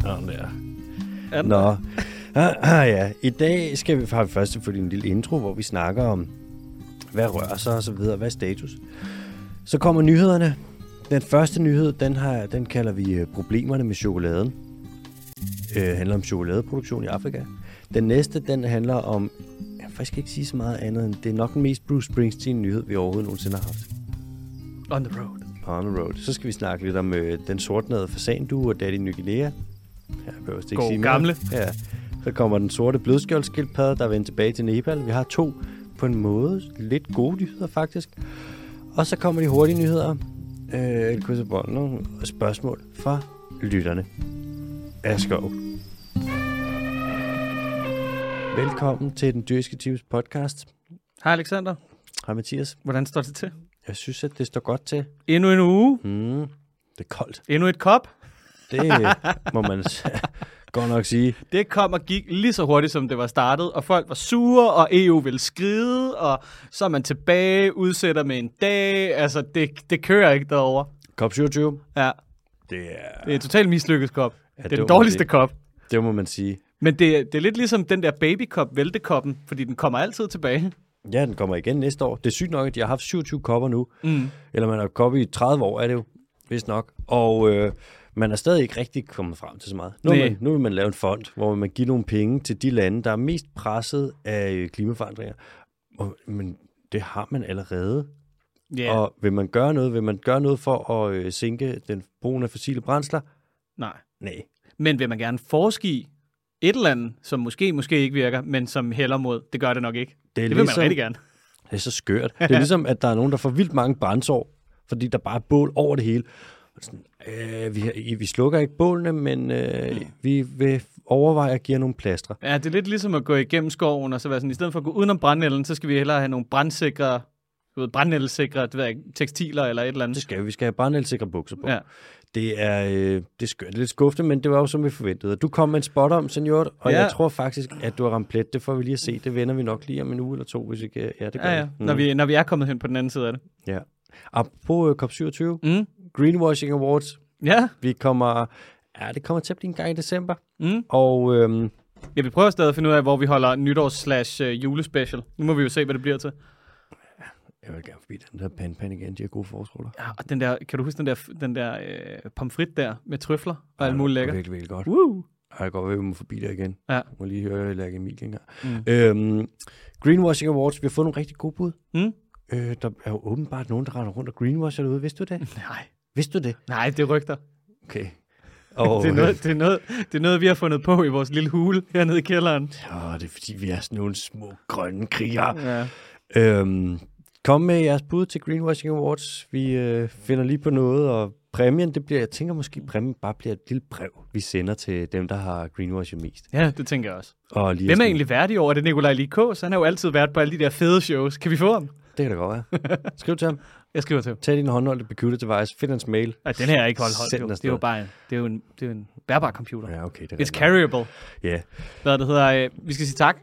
Sådan der. Er den Nå. Ah, ah, ja. I dag skal vi, har vi først selvfølgelig en lille intro, hvor vi snakker om, hvad rører sig og så videre, hvad er status. Så kommer nyhederne. Den første nyhed, den, har, den kalder vi øh, problemerne med chokoladen. Øh, handler om chokoladeproduktion i Afrika. Den næste, den handler om, jeg vil faktisk ikke sige så meget andet end, det er nok den mest Bruce Springsteen nyhed, vi overhovedet nogensinde har haft. On the road. On the road. Så skal vi snakke lidt om øh, den sortnede fasandue og Daddy Ny Guinea. Jeg behøver vist ikke God sige mere. gamle. Ja. Så kommer den sorte blødskjoldskildpadde, der er vendt tilbage til Nepal. Vi har to på en måde lidt gode nyheder, faktisk. Og så kommer de hurtige nyheder. Øh, et kryds og bånd, nogle spørgsmål fra lytterne. Askov. Velkommen til Den Dyrske Times podcast. Hej Alexander. Hej Mathias. Hvordan står det til? Jeg synes, at det står godt til. Endnu en uge. Mm, det er koldt. Endnu et kop. Det må man s- godt nok sige. Det kom og gik lige så hurtigt, som det var startet, og folk var sure, og EU ville skride, og så er man tilbage, udsætter med en dag. Altså, det, det kører ikke derovre. COP27, Ja, det er... det er et totalt mislykkes kop. Ja, det er det den må dårligste det. kop. Det må man sige. Men det, det er lidt ligesom den der babykop, væltekoppen, fordi den kommer altid tilbage. Ja, den kommer igen næste år. Det er sygt nok, at de har haft 27 kopper nu. Mm. Eller man har koppet i 30 år, er det jo. Vist nok. Og øh, man er stadig ikke rigtig kommet frem til så meget. Nu, vil Næ. man, nu vil man lave en fond, hvor man giver nogle penge til de lande, der er mest presset af øh, klimaforandringer. Og, men det har man allerede. Ja, Ja. yeah. Og vil man gøre noget, vil man gøre noget for at øh, sænke den brugen af fossile brændsler? nej. Nej. Men vil man gerne forske i et eller andet, som måske, måske ikke virker, men som hælder mod, det gør det nok ikke. Det, er det vil man ligesom- rigtig gerne. Det er så skørt. Det er ligesom, at der er nogen, der får vildt mange brændsår, fordi der bare er bål over det hele. Og Sådan, øh, vi, har- I- vi slukker ikke bålene, men øh, vi vil overveje at give jer nogle plastre. Ja, det er lidt ligesom at gå igennem skoven, og så være sådan, i stedet for at gå udenom brændnælden, så skal vi hellere have nogle brandsikre, du ved, brændnældesikre det ved jeg ikke, tekstiler eller et eller Det andet. skal vi. Vi skal have brændelsikre bukser på. Ja. Ja. Det, er, øh, det er skørt. Det er lidt skuffende, men det var jo som vi forventede. Du kom med en spot om, senior, og Ja. ja. jeg tror faktisk, at du har ramt plet. Det får vi lige at se. Det vender vi nok lige om en uge eller to, hvis ikke... øh, Ja, det gør Ja, Mm. ja. Øh, Når, vi, når vi er kommet hen på den anden side af det. ja. Apropos øh, COP27, Mm. Greenwashing Awards. Ja, Vi kommer... Ja, det kommer til at blive en gang i december. Mm. Og... Øhm, ja, vi prøver stadig at finde ud af, hvor vi holder nytårs slash øh, julespecial. Nu må vi jo se, hvad det bliver til. Jeg vil gerne forbi den der panpan igen, de har gode forskruller. Ja, og den der, kan du huske den der, den der øh, pomfrit der med trøfler og alt muligt lækker? Virkelig, virkelig godt. Woo! Ej, Jeg kan godt være, vi må forbi der igen. Ja. Må lige høre Lærke Emil engang. Mm. Øhm, Greenwashing Awards, vi har fået nogle rigtig gode bud. Mm? Øh, der er jo åbenbart nogen, der render rundt og greenwasher derude. Vidste du det? Nej. Vidste du det? Nej, det er rygter. Okay. Oh, Og, det, er noget, det, er noget, det er noget, vi har fundet på i vores lille hule hernede i kælderen. Øh, åh, det er fordi, vi er sådan nogle små grønne krigere. Ja. Øhm, kom med jeres bud til Greenwashing Awards. Vi øh, finder lige på noget, og præmien, det bliver, jeg tænker måske, præmien bare bliver et lille brev, vi sender til dem, der har greenwashet mest. ja, det tænker jeg også. Og lige at Hvem er skrive- egentlig værdig over det? Nikolaj Likås, han har jo altid været på alle de der fede shows. Kan vi få ham? Det kan da godt være. Skriv til ham. Jeg skriver til ham. Tag din håndholdte computer device. Find hans mail. Ej, den her er ikke holdt Send den holdt. jo. Det er afsted. jo bare en, det er jo en, det er jo en bærbar computer. Ja, okay. Det er It's rigtigt. carryable. Ja. Hvad det hedder, øh, vi skal sige tak.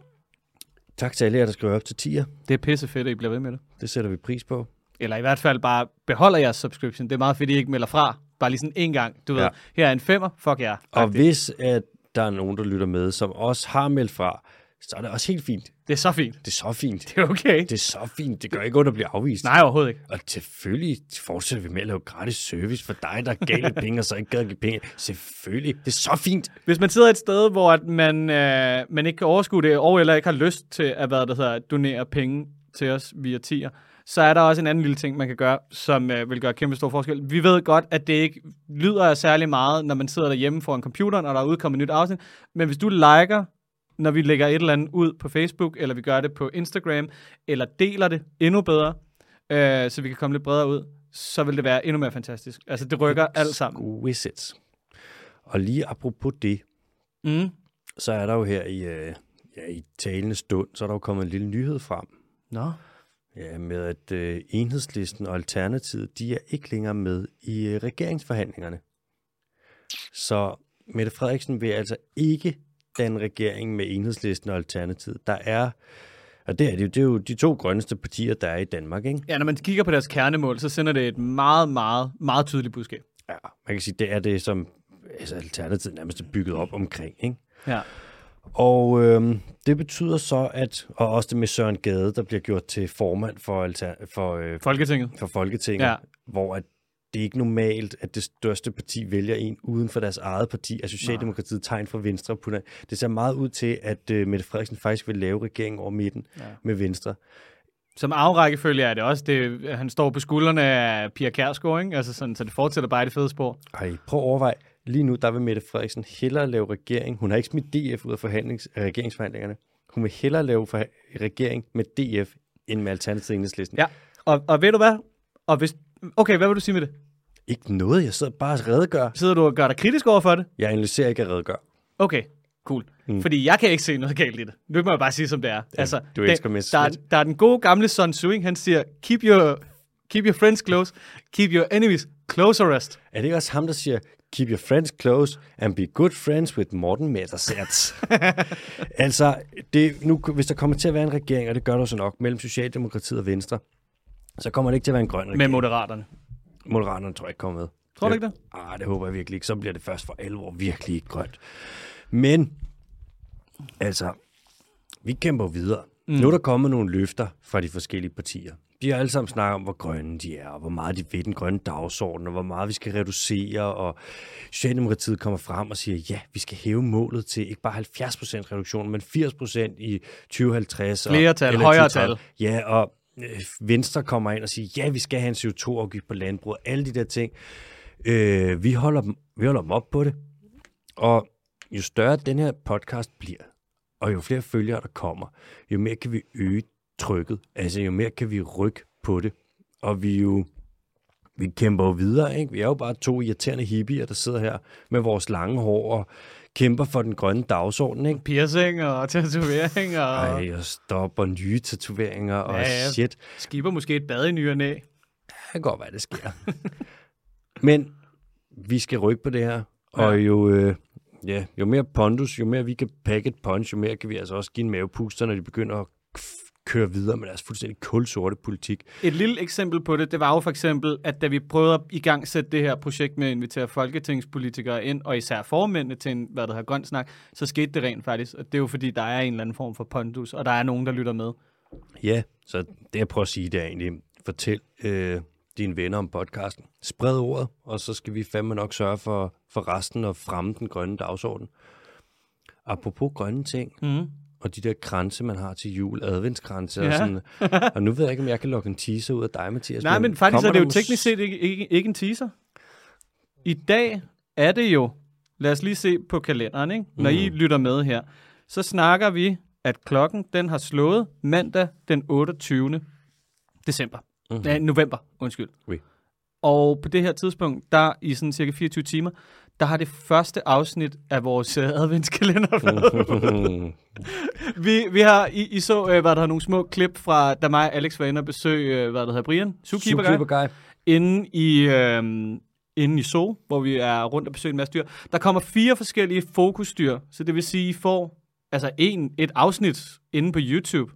Tak til alle jer, der skriver op til 10'er. Det er pisse fedt, at I bliver ved med det. Det sætter vi pris på. Eller i hvert fald bare beholder jeres subscription. Det er meget fedt, at I ikke melder fra. Bare lige sådan en gang. Du ved, Ja. her er en femmer. Fuck jer. Og hvis at der er nogen, der lytter med, som også har meldt fra, så er det også helt fint. Det er så fint. Det er så fint. Det er okay. Det er så fint. Det gør ikke ondt at blive afvist. Nej, overhovedet ikke. Og selvfølgelig fortsætter vi med at lave gratis service for dig, der gav lidt penge, og så ikke gad at give penge. Selvfølgelig. Det er så fint. Hvis man sidder et sted, hvor at man, øh, man ikke kan overskue det, og eller ikke har lyst til at hvad det hedder, donere penge til os via tier, så er der også en anden lille ting, man kan gøre, som øh, vil gøre kæmpe stor forskel. Vi ved godt, at det ikke lyder af særlig meget, når man sidder derhjemme foran computeren, og der er udkommet et nyt afsnit. Men hvis du liker, når vi lægger et eller andet ud på Facebook, eller vi gør det på Instagram, eller deler det endnu bedre, øh, så vi kan komme lidt bredere ud, så vil det være endnu mere fantastisk. Altså, det rykker alt sammen. Wizards. Og lige apropos det, Mm. så er der jo her i, øh, ja, i talende stund, så er der jo kommet en lille nyhed frem. Nå. Ja, med at øh, enhedslisten og Alternativet, de er ikke længere med i øh, regeringsforhandlingerne. Så Mette Frederiksen vil altså ikke danne regering med enhedslisten og Alternativet. Der er, og det er, det, jo, det er jo de to grønneste partier, der er i Danmark, ikke? Ja, når man kigger på deres kernemål, så sender det et meget, meget, meget tydeligt budskab. Ja. Man kan sige, det er det, som altså Alternativet nærmest er bygget op omkring. Ikke? Ja. Og øhm, det betyder så, at, og også det med Søren Gade, der bliver gjort til formand for, alter, for, øh, Folketinget. for Folketinget, Ja. ja. hvor at det er ikke normalt, at det største parti vælger en uden for deres eget parti, at Socialdemokratiet tegn for Venstre. og putter- Det ser meget ud til, at øh, Mette Frederiksen faktisk vil lave regering over midten Ja. ja. med Venstre. Som afrækkefølge er det også, det, han står på skuldrene af Pia Kærsgaard, ikke? Altså sådan, så det fortsætter bare i det fede spor. Ej, prøv at overveje. Lige nu, der vil Mette Frederiksen hellere lave regering. Hun har ikke smidt DF ud af forhandlings, øh, regeringsforhandlingerne. Hun vil hellere lave for, regering med DF end med Alternativet og Enhedslisten. Ja, og, og ved du hvad? Og hvis, okay, hvad vil du sige med det? Ikke noget, jeg sidder bare og redegør. Sidder du og gør dig kritisk over for det? Jeg analyserer ikke at redegør. Okay, cool. Mm. Fordi jeg kan ikke se noget galt i det. Nu må jeg bare sige, som det er. altså, du den- elsker Messerschmidt. der, er- der er den gode gamle Sun Tzu, ikke? han siger, keep your, keep your friends close, keep your enemies closerest. Er det ikke også ham, der siger, keep your friends close and be good friends with Morten Messerschmidt? altså, det, nu, hvis der kommer til at være en regering, og det gør der jo så nok, mellem Socialdemokratiet og Venstre, så kommer det ikke til at være en grøn regering. Med moderaterne. Moderaterne tror jeg ikke kommer med. Tror du ikke det? Ah, det håber jeg virkelig ikke. Så bliver det først for alvor virkelig ikke grønt. Men, altså, vi kæmper videre. Mm. Nu er der kommet nogle løfter fra de forskellige partier. De har alle sammen snakket om, hvor grønne de er, og hvor meget de ved den grønne dagsorden, og hvor meget vi skal reducere, og Socialdemokratiet kommer frem og siger, ja, vi skal hæve målet til ikke bare 70% reduktion, men 80% i 2050. og- Flere tal, eller højere 2030. tal. Ja, og øh, Venstre kommer ind og siger, ja, vi skal have en CO2-afgift på landbruget, alle de der ting. Øh, vi, holder dem, vi holder dem op på det. Og jo større den her podcast bliver, og jo flere følgere der kommer, jo mere kan vi øge trykket. Altså, jo mere kan vi rykke på det. Og vi er jo vi kæmper jo videre, ikke? Vi er jo bare to irriterende hippier, der sidder her med vores lange hår og kæmper for den grønne dagsorden, ikke? Piercing og tatovering og Ej, Ej, og stop og nye tatoveringer og Ja, ja, ja. ja. shit. skipper måske et bad i ny og næ. Det kan godt være, det sker. Men vi skal rykke på det her, og jo, øh, ja, jo mere pondus, jo mere vi kan pakke et punch, jo mere kan vi altså også give en mavepuster, når de begynder at k- køre videre med deres fuldstændig kulsorte politik. Et lille eksempel på det, det var jo for eksempel, at da vi prøvede at i gang sætte det her projekt med at invitere folketingspolitikere ind, og især formændene til en, hvad der hedder grøn snak, så skete det rent faktisk. Og det er jo fordi, der er en eller anden form for pondus, og der er nogen, der lytter med. Ja, så det jeg prøver at sige, det er egentlig, fortæl øh, dine venner om podcasten. Spred ordet, og så skal vi fandme nok sørge for, for resten og fremme den grønne dagsorden. Apropos grønne ting, Mm. og de der kranse, man har til jul, adventskranse Ja. og sådan. Og nu ved jeg ikke, om jeg kan lokke en teaser ud af dig, Mathias. Nej, men faktisk kommer er det der jo mus- teknisk set ikke, ikke, ikke en teaser. I dag er det jo, lad os lige se på kalenderen, ikke? når Mm. I lytter med her, så snakker vi, at klokken den har slået mandag den 28. december. Mm-hmm. Nej, november, undskyld. Mhm. Oui. Og på det her tidspunkt, der i sådan cirka 24 timer, der har det første afsnit af vores øh, Uh. adventskalender været vi, vi har, I, I så, øh, hvad der er nogle små klip fra, da mig og Alex var inde og besøge, øh, hvad der hedder Brian, Zookeeper, Guy Zookeeper guy. inde i, øh, inde i Zoo, hvor vi er rundt og besøger en masse dyr. Der kommer fire forskellige fokusdyr, så det vil sige, I får altså en, et afsnit inde på YouTube,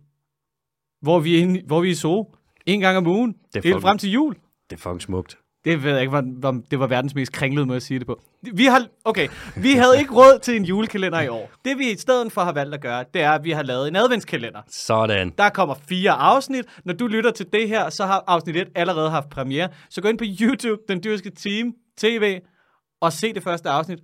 hvor vi er, inde, hvor vi er i Zoo en gang om ugen. Det er er helt fucking- frem til jul. Det er fucking smukt. Det ved jeg ikke, hvordan- om det var verdens mest kringlede måde at sige det på. Vi har, okay, vi havde ikke råd til en julekalender i år. Det vi i stedet for har valgt at gøre, det er, at vi har lavet en adventskalender. Sådan. Der kommer fire afsnit. Når du lytter til det her, så har afsnit 1 allerede haft premiere. Så gå ind på YouTube, Den Dyrske Team, TV, og se det første afsnit.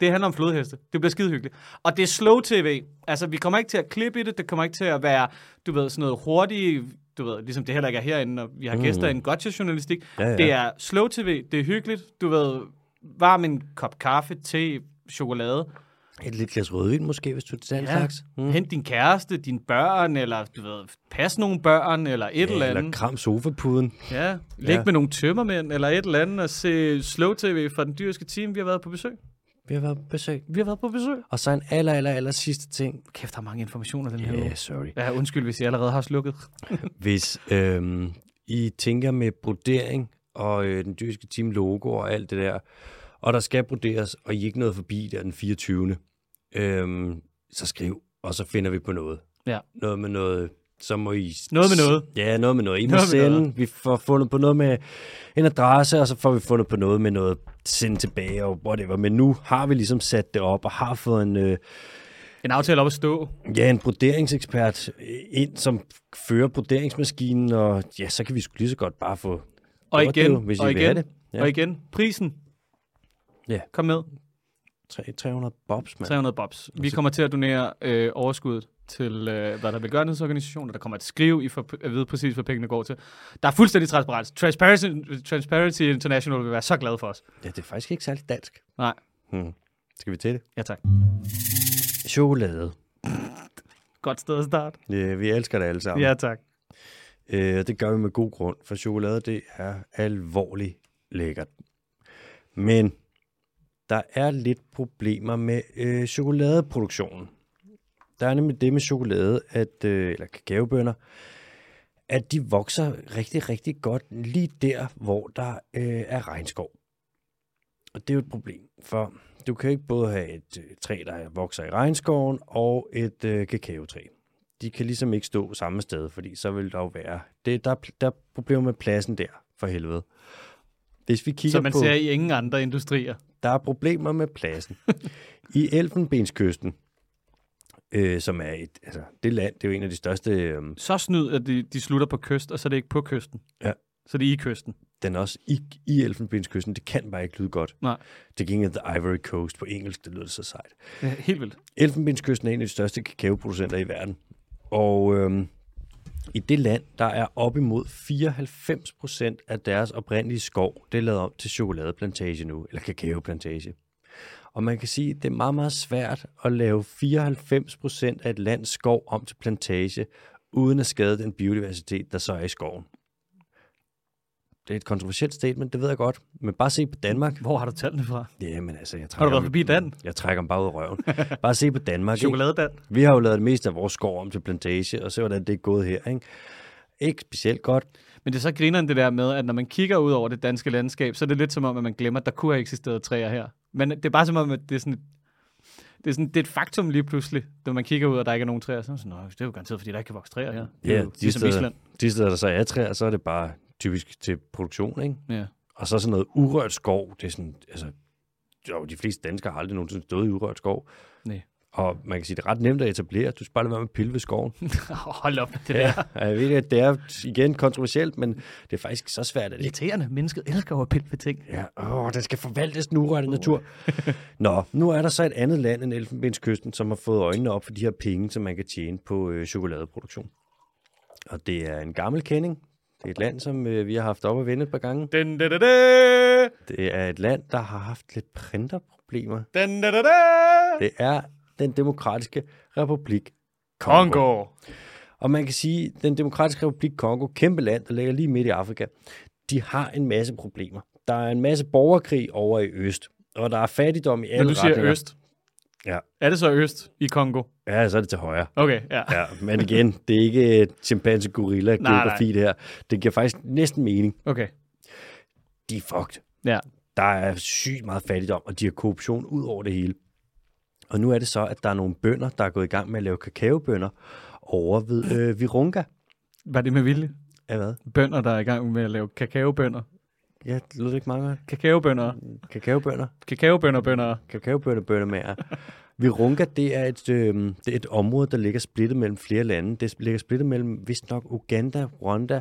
Det handler om flodheste. Det bliver skide hyggeligt. Og det er slow tv. Altså, vi kommer ikke til at klippe i det. Det kommer ikke til at være, du ved, sådan noget hurtigt, du ved, ligesom det heller ikke er herinde, når vi har mm. gæster i en gotcha journalistik. Ja, ja. Det er slow tv. Det er hyggeligt. Du ved, varm en kop kaffe, te, chokolade. Et lille glas rødvin måske, hvis du er til den Ja. slags. Mm. Hent din kæreste, dine børn, eller du ved, pas nogle børn, eller et eller andet. Eller kram sofapuden. Ja, læg ja. Ja. med nogle tømmermænd, eller et eller andet, og se slow tv fra den dyrske team. Vi har været på besøg. Vi har været på besøg. Vi har været på besøg. Og så en aller, aller, aller sidste ting. Kæft, der er mange informationer den her Ja, uge. yeah, sorry. Ja, undskyld, hvis I allerede har slukket. Hvis øhm, I tænker med brodering og øh, den dyrske team logo og alt det der, og der skal broderes, og I ikke nåede forbi der den 24. Øhm, så skriv, og så finder vi på noget. Ja. Noget med noget så må I... Noget med noget. Ja, noget med noget. I Noget må med sende. noget. Vi får fundet på noget med en adresse, og så får vi fundet på noget med noget sende tilbage og whatever. Men nu har vi ligesom sat det op og har fået en, øh, En aftale op at stå. ja, en broderingsekspert øh, ind, som fører broderingsmaskinen, og ja, så kan vi sgu lige så godt bare få... Og gjort igen, det jo, hvis I og vil igen, have det. Ja. og igen. Prisen. Ja. Kom med. Tre- 300 bobs, mand. 300 bobs. Vi kommer til at donere øh, overskuddet til, øh, hvad der vil gørenhedsorganisationer. Der kommer et skriv, I får p- at vide præcis, hvad pengene går til. Der er fuldstændig transparens. Transparency, Transparency International vil være så glad for os. Ja, det er faktisk ikke særlig dansk. Nej. Hmm. Skal vi til det? Ja, tak. Chokolade. Godt sted at starte. Ja, vi elsker det alle sammen. Ja, tak. Øh, og det gør vi med god grund, for chokolade, det er alvorligt lækkert. Men der er lidt problemer med øh, chokoladeproduktionen. Der er nemlig det med chokolade, at, øh, eller kakaobønner, at de vokser rigtig, rigtig godt lige der, hvor der øh, er regnskov. Og det er jo et problem, for du kan ikke både have et øh, træ, der vokser i regnskoven, og et øh, kakaotræ de kan ligesom ikke stå samme sted, fordi så vil der jo være... Det, der, er pl- der er problemer med pladsen der, for helvede. Hvis vi kigger Så man på... ser i ingen andre industrier. Der er problemer med pladsen. I Elfenbenskysten, øh, som er et... Altså, det land, det er jo en af de største... Øh, Så snyd, at de, de slutter på kyst, og så er det ikke på kysten. Ja. Så er det i kysten. den er også i, i Elfenbenskysten. Det kan bare ikke lyde godt. Nej. Det gik af The Ivory Coast på engelsk, det lyder så sejt. Ja, helt vildt. Elfenbenskysten er en af de største kakaoproducenter i verden. Og øhm, i det land, der er op imod 94 procent af deres oprindelige skov, det er lavet om til chokoladeplantage nu, eller kakaoplantage. Og man kan sige, at det er meget, meget svært at lave 94 procent af et lands skov om til plantage, uden at skade den biodiversitet, der så er i skoven. Det er et kontroversielt statement, det ved jeg godt, men bare se på Danmark. Hvor har du tallene fra? Jamen altså, jeg trækker, Har du været forbi Dan? jeg trækker dem bare ud af røven. Bare se på Danmark. ikke? Chokoladedan? Vi har jo lavet det meste af vores skov om til plantage, og se hvordan det er gået her, ikke? Ikke specielt godt. Men det er så grineren det der med, at når man kigger ud over det danske landskab, så er det lidt som om, at man glemmer, at der kunne have eksisteret træer her. Men det er bare som om, at det er sådan et, det er, sådan, det er et faktum lige pludselig, når man kigger ud, og der ikke er nogen træer. Så er man sådan, Nå, det er jo garanteret, fordi der ikke kan vokse træer her. Det er jo de, ligesom steder, Island. de steder, der så er træer, så er det bare typisk til produktion, ikke? Ja. Og så sådan noget urørt skov, det er sådan, altså, jo, de fleste danskere har aldrig nogensinde stået i urørt skov. Nej. Og man kan sige, det er ret nemt at etablere, du skal bare lade være med at pille ved skoven. Hold op, med det der. Og jeg ved, at det er igen kontroversielt, men det er faktisk ikke så svært, at det Irriterende. Mennesket elsker jo at pille ved ting. Ja, åh, den skal forvaltes den urørte natur. Nå, nu er der så et andet land end Elfenbenskysten, som har fået øjnene op for de her penge, som man kan tjene på øh, chokoladeproduktion. Og det er en gammel kending. Det er et land, som øh, vi har haft op at vende et par gange. Den, da, da, da. Det er et land, der har haft lidt printerproblemer. Den, da, da, da. Det er den demokratiske republik Kongo. Og man kan sige, at den demokratiske republik Kongo, kæmpe land, der ligger lige midt i Afrika, de har en masse problemer. Der er en masse borgerkrig over i øst, og der er fattigdom i alle Når du retninger. siger øst, Ja. er det så øst i Kongo? Ja, så er det til højre. Okay, ja. Ja, men igen, det er ikke øh, chimpanse gorilla geografi det her. Det giver faktisk næsten mening. Okay, De er fucked. ja. Der er sygt meget fattigdom, og de har korruption ud over det hele. Og nu er det så, at der er nogle bønder, der er gået i gang med at lave kakaobønder over ved øh, Virunga. Var det med vilje? Ja, hvad? Bønder, der er i gang med at lave kakaobønder. Ja, det lyder ikke meget godt. Kakaobønder. Kakaobønder. Kakaobønder, bønder. kakaobønnerbønner med jer. Virunga, det er, et, øh, det er et område, der ligger splittet mellem flere lande. Det ligger splittet mellem, vist nok, Uganda, Rwanda,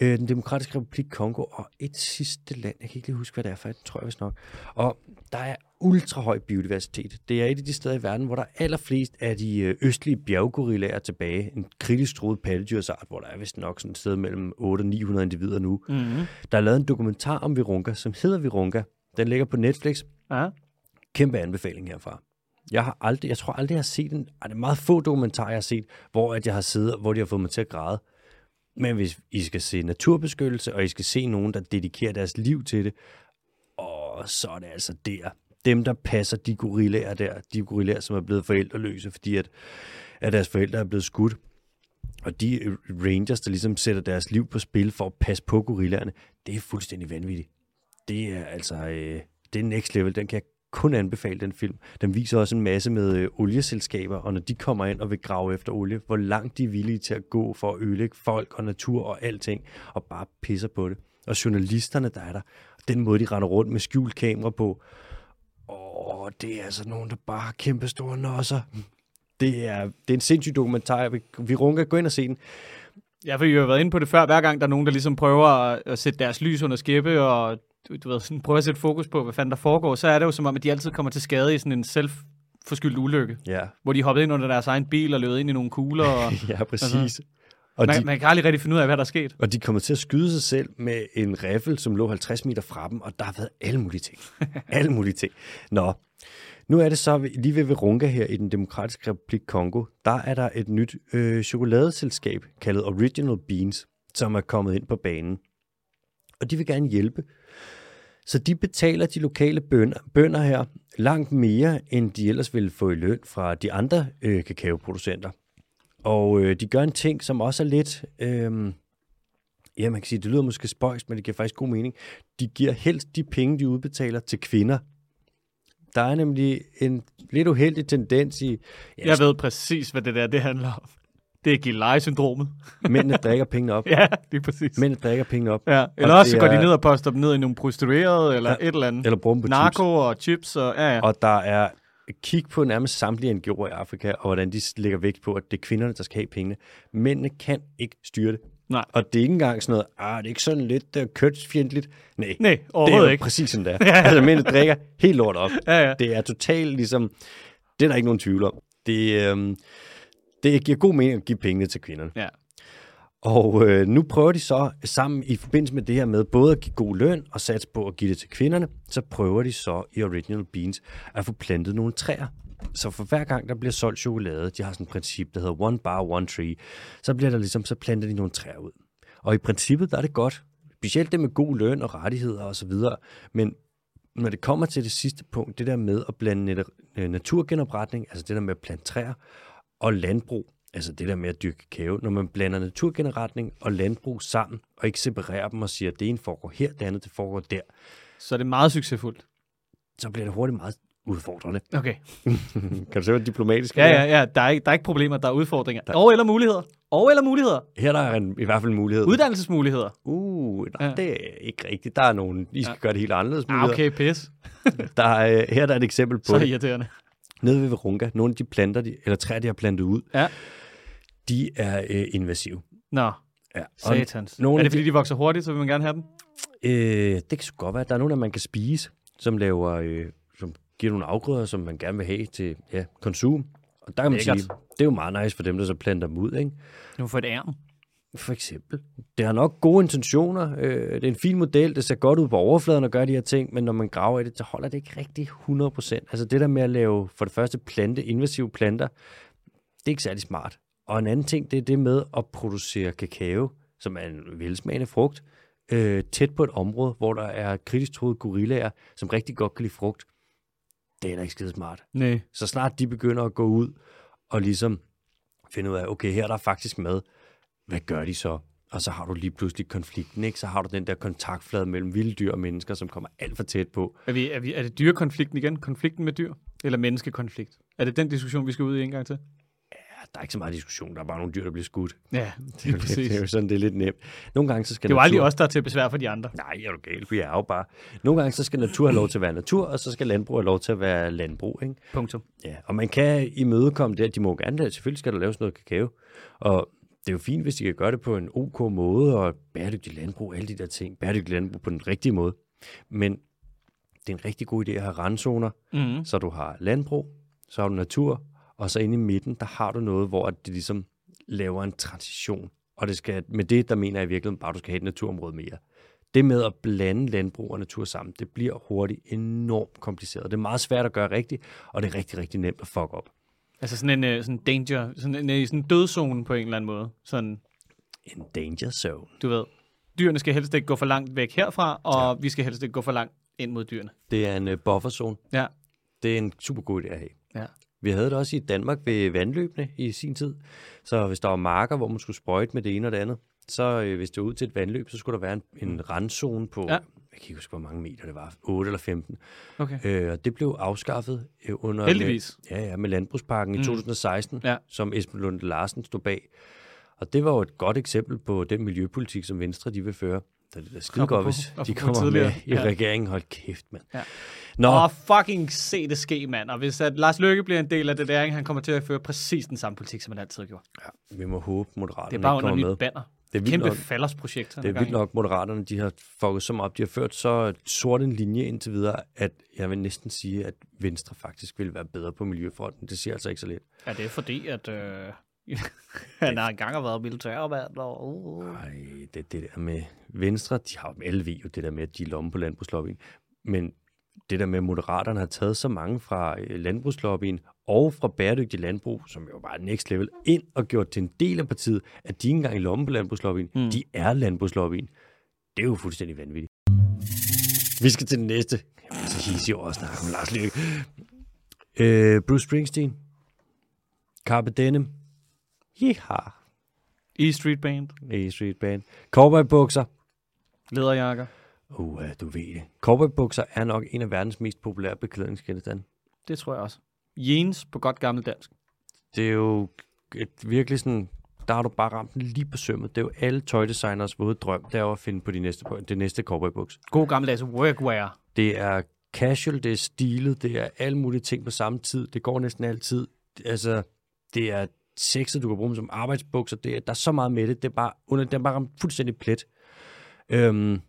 øh, den demokratiske republik Kongo og et sidste land. Jeg kan ikke lige huske, hvad det er for, et, tror jeg vist nok. Og der er ultrahøj biodiversitet. Det er et af de steder i verden, hvor der er allerflest af de øh, østlige bjerggorillaer tilbage. En kritisk troet pattedyrsart, hvor der er vist nok sådan et sted mellem 800 og 900 individer nu. Mm-hmm. Der er lavet en dokumentar om Virunga, som hedder Virunga. Den ligger på Netflix. Ja. Kæmpe anbefaling herfra. Jeg har aldrig, jeg tror aldrig, jeg har set en, ej, det er meget få dokumentarer, jeg har set, hvor at jeg har siddet, hvor de har fået mig til at græde. Men hvis I skal se naturbeskyttelse, og I skal se nogen, der dedikerer deres liv til det, og så er det altså der. Dem, der passer de gorillaer der, de gorillaer, som er blevet forældreløse, fordi at, at deres forældre er blevet skudt. Og de øh, rangers, der ligesom sætter deres liv på spil for at passe på gorillaerne, det er fuldstændig vanvittigt. Det er altså, øh, det er next level, den kan jeg kun anbefale den film. Den viser også en masse med øh, olieselskaber, og når de kommer ind og vil grave efter olie, hvor langt de er villige til at gå for at ødelægge folk og natur og alting, og bare pisser på det. Og journalisterne, der er der, og den måde, de render rundt med skjult kamera på, åh, det er altså nogen, der bare har kæmpe store nosser. Det er, det er en sindssyg dokumentar. Vi, vi runker. Gå ind og se den. Ja, for I har været inde på det før, hver gang der er nogen, der ligesom prøver at, at sætte deres lys under skæppe, og du, du ved, sådan, prøver at sætte fokus på, hvad fanden der foregår, så er det jo som om, at de altid kommer til skade i sådan en selvforskyldt ulykke, Ja, hvor de hoppede ind under deres egen bil og løb ind i nogle kugler, og ja præcis. Og Altså. man, de, man kan aldrig rigtig finde ud af, hvad der er sket. Og de kommer til at skyde sig selv med en riffel, som lå 50 meter fra dem, og der har været alle mulige ting. alle mulige ting. Nå, nu er det så ved- lige ved Verunga her i den demokratiske republik Kongo, der er der et nyt øh, chokoladeselskab kaldet Original Beans, som er kommet ind på banen. Og de vil gerne hjælpe. Så de betaler de lokale bønder, bønder her langt mere, end de ellers ville få i løn fra de andre øh, kakaoproducenter. Og øh, de gør en ting, som også er lidt... Øh, Ja, man kan sige, det lyder måske spøjst, men det giver faktisk god mening. De giver helst de penge, de udbetaler til kvinder. Der er nemlig en lidt uheldig tendens i, ja, Jeg ved præcis, hvad det der det handler om. Det er Gilleleje-syndromet. mændene drikker pengene op. Ja, det er præcis. Men, Mændene drikker pengene op, ja. Eller og også det går de er- ned og poster dem ned i nogle prostituerede, eller Ja, ja, et eller andet. eller bruger dem på Narko chips. og chips, og ja, ja. Og der er kig på nærmest samtlige NGO'er i Afrika, og hvordan de lægger vægt på, at det er kvinderne, der skal have pengene. Mændene kan ikke styre det. Nej. Og det er ikke engang sådan noget, ah, det er ikke sådan lidt uh, kønsfjendtligt. Nej, Nej, det er overhovedet jo ikke. præcis sådan der. altså, mændene drikker helt lort op. Ja, ja. Det er totalt ligesom, det er der ikke nogen tvivl om. Det, øhm, det giver god mening at give pengene til kvinderne. ja. Og øh, nu prøver de så sammen i forbindelse med det her med både at give god løn og satse på at give det til kvinderne, så prøver de så i Original Beans at få plantet nogle træer. Så for hver gang, der bliver solgt chokolade, de har sådan et princip, der hedder one bar, one tree, så bliver der ligesom, så planter de nogle træer ud. Og i princippet, der er det godt. Specielt det med god løn og rettigheder og så videre. Men når det kommer til det sidste punkt, det der med at blande net- øh, naturgenopretning, altså det der med at plante træer, og landbrug, altså det der med at dyrke kakao, når man blander naturgenopretning og landbrug sammen, og ikke separerer dem og siger, at det ene foregår her, det andet det foregår der, Så er det meget succesfuldt. så bliver det hurtigt meget udfordrende. Okay. kan du se, hvor diplomatisk det Ja, er? ja, ja. Der er ikke, der er ikke problemer, der er udfordringer. Der... Og eller muligheder. Og eller muligheder. Her er der en, i hvert fald en mulighed. Uddannelsesmuligheder. Uh, nej, Ja. ja. det er ikke rigtigt. Der er nogen, I skal ja. gøre det helt anderledes. Ah, muligheder. okay, pis. Der er, øh, her er der et eksempel på Så det. irriterende. Nede ved Verunga, nogle af de planter, de, eller træer, de har plantet ud, Ja. de er øh, invasive. Nå, Ja. Og, satans. nogle er af det, fordi de vokser hurtigt, så vil man gerne have dem? øh, det kan sgu godt være. Der er nogle, af man kan spise, som laver, øh, som giver nogle afgrøder, som man gerne vil have til ja, konsum. Og der kan man Lækkert. sige, det er jo meget nice for dem, der så planter dem ud, ikke? Nu får et ærm. For eksempel. Det har nok gode intentioner. Øh, det er en fin model. Det ser godt ud på overfladen at gøre de her ting, men når man graver i det, så holder det ikke rigtig 100%. Altså det der med at lave for det første plante, invasive planter, det er ikke særlig smart. Og en anden ting, det er det med at producere kakao, som er en velsmagende frugt, øh, tæt på et område, hvor der er kritisk troede gorillaer, som rigtig godt kan lide frugt. Det er heller ikke skide smart. Nej. Så snart de begynder at gå ud og ligesom finde ud af, okay, her er der faktisk mad, hvad gør de så? Og så har du lige pludselig konflikten, ikke? Så har du den der kontaktflade mellem vilde dyr og mennesker, som kommer alt for tæt på. Er, vi, er, vi, er det dyrekonflikten igen? Konflikten med dyr? Eller menneskekonflikt? Er det den diskussion, vi skal ud i en gang til? Ja, der er ikke så meget diskussion, der er bare nogle dyr, der bliver skudt. Ja, Det er, jo- lige det er præcis. jo sådan, det er lidt nemt. Nogle gange så skal Det er jo natur... aldrig os, der er til besvær for de andre. Nej, er du gal? Vi er jo bare... Nogle gange så skal natur have lov til at være natur, og så skal landbrug have lov til at være landbrug, ikke? Punktum. Ja, og man kan imødekomme det, at de må gerne lave, selvfølgelig skal der laves noget kakao, og det er jo fint, hvis de kan gøre det på en ok måde, og bæredygtig landbrug, alle de der ting, bæredygtig landbrug på den rigtige måde. Men det er en rigtig god idé at have randzoner, Mm. så du har landbrug, så har du natur, og så inde i midten, der har du noget, hvor det ligesom laver en transition. Og det skal, med det, der mener jeg i virkeligheden bare, at du skal have et naturområde mere. Det med at blande landbrug og natur sammen, det bliver hurtigt enormt kompliceret. Det er meget svært at gøre rigtigt, og det er rigtig, rigtig nemt at fuck op. Altså sådan en øh, sådan danger, sådan en, øh, sådan en dødzone på en eller anden måde. Sådan, En danger zone. du ved, dyrene skal helst ikke gå for langt væk herfra, og ja. vi skal helst ikke gå for langt ind mod dyrene. Det er en øh, bufferzone. Ja, Det er en super god idé at have. ja. Vi havde det også i Danmark ved vandløbene i sin tid. Så hvis der var marker, hvor man skulle sprøjte med det ene og det andet, så øh, hvis det var ud til et vandløb, så skulle der være en, en randzone på, Ja. ja. jeg kan ikke huske, hvor mange meter det var, 8 eller 15. Okay. Øh, og det blev afskaffet øh, under... Heldigvis. Med, ja, ja, med Landbrugsparken mm. i 2016, Ja. ja. som Esben Lunde Larsen stod bag. Og det var jo et godt eksempel på den miljøpolitik, som Venstre de vil føre. Så det er da skide godt, Apropos- hvis de apropos kommer tidligere. med i Ja. regeringen. Hold kæft, mand. Ja. Nå, Åh, oh, fucking se det ske, mand. Og hvis at Lars Løkke bliver en del af det der, ikke, han kommer til at føre præcis den samme politik, som han altid gjorde. vi må håbe, Det er Moderaterne ikke bare under kommer med. nyt banner. Det er vildt Kæmpe nok. faldersprojekt. han Det er gang vildt i. nok, Moderaterne de har fucket så meget op. De har ført så sort en linje indtil videre, at jeg vil næsten sige, at Venstre faktisk vil være bedre på miljøfronten. Det ser altså ikke så lidt. Ja, det er fordi, at øh, han har engang har været militærmand. Og, uh, uh. Nej, det, det der med Venstre, de har jo med LV jo det der med, at de er lomme på landbrugslobbyen. Men det der med, at Moderaterne har taget så mange fra øh, landbrugslobbyen og fra bæredygtig landbrug, som jo var next level, ind og gjort til en del af partiet, at de ikke engang er lomme på landbrugslobbyen. Mm. De er landbrugslobbyen. Det er jo fuldstændig vanvittigt. Vi skal til den næste. Jeg er så hisse over at snakke om Lars Løkke. Øh, Bruce Springsteen. Carpe Denim. Yeehaw. E Street Band, A-Street Band. Cowboybukser. lederjakker. Uh, du ved det. Cowboybukser er nok en af verdens mest populære beklædningsgenstande. Det tror jeg også. Jeans på godt gammelt dansk. Det er jo et virkelig sådan, der har du bare ramt den lige på sømmet. Det er jo alle tøjdesigners våde drøm, det er jo at finde på de næste, det næste cowboybuks. God gammeldags workwear. Det er casual, det er stilet, det er alle mulige ting på samme tid. Det går næsten altid. Altså, det er sexet, du kan bruge dem som arbejdsbukser. Det er, der er så meget med det. Det er bare, under, det er bare ramt fuldstændig plet. Øhm,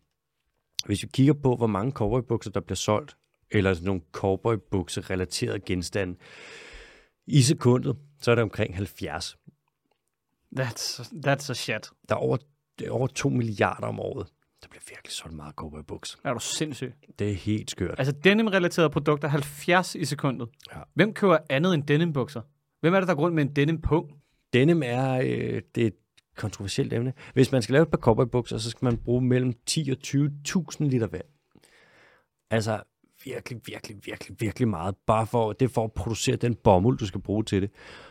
hvis vi kigger på, hvor mange cowboybukser, der bliver solgt, eller sådan nogle cowboybukser-relaterede genstande, i sekundet, så er det omkring 70. That's, that's a shit. Der er over, det er over 2 milliarder om året. Der bliver virkelig solgt meget cowboybukser. Er du sindssyg? Det er helt skørt. Altså denim-relaterede produkter, 70 i sekundet. Ja. Hvem køber andet end denimbukser? Hvem er det, der går rundt med en denimpung? Denim er, øh, det er et kontroversielt emne. Hvis man skal lave et par cowboybukser, så skal man bruge mellem 10 og 20.000 liter vand. Altså virkelig, virkelig, virkelig, virkelig meget. Bare for, det er for at producere den bomuld, du skal bruge til det.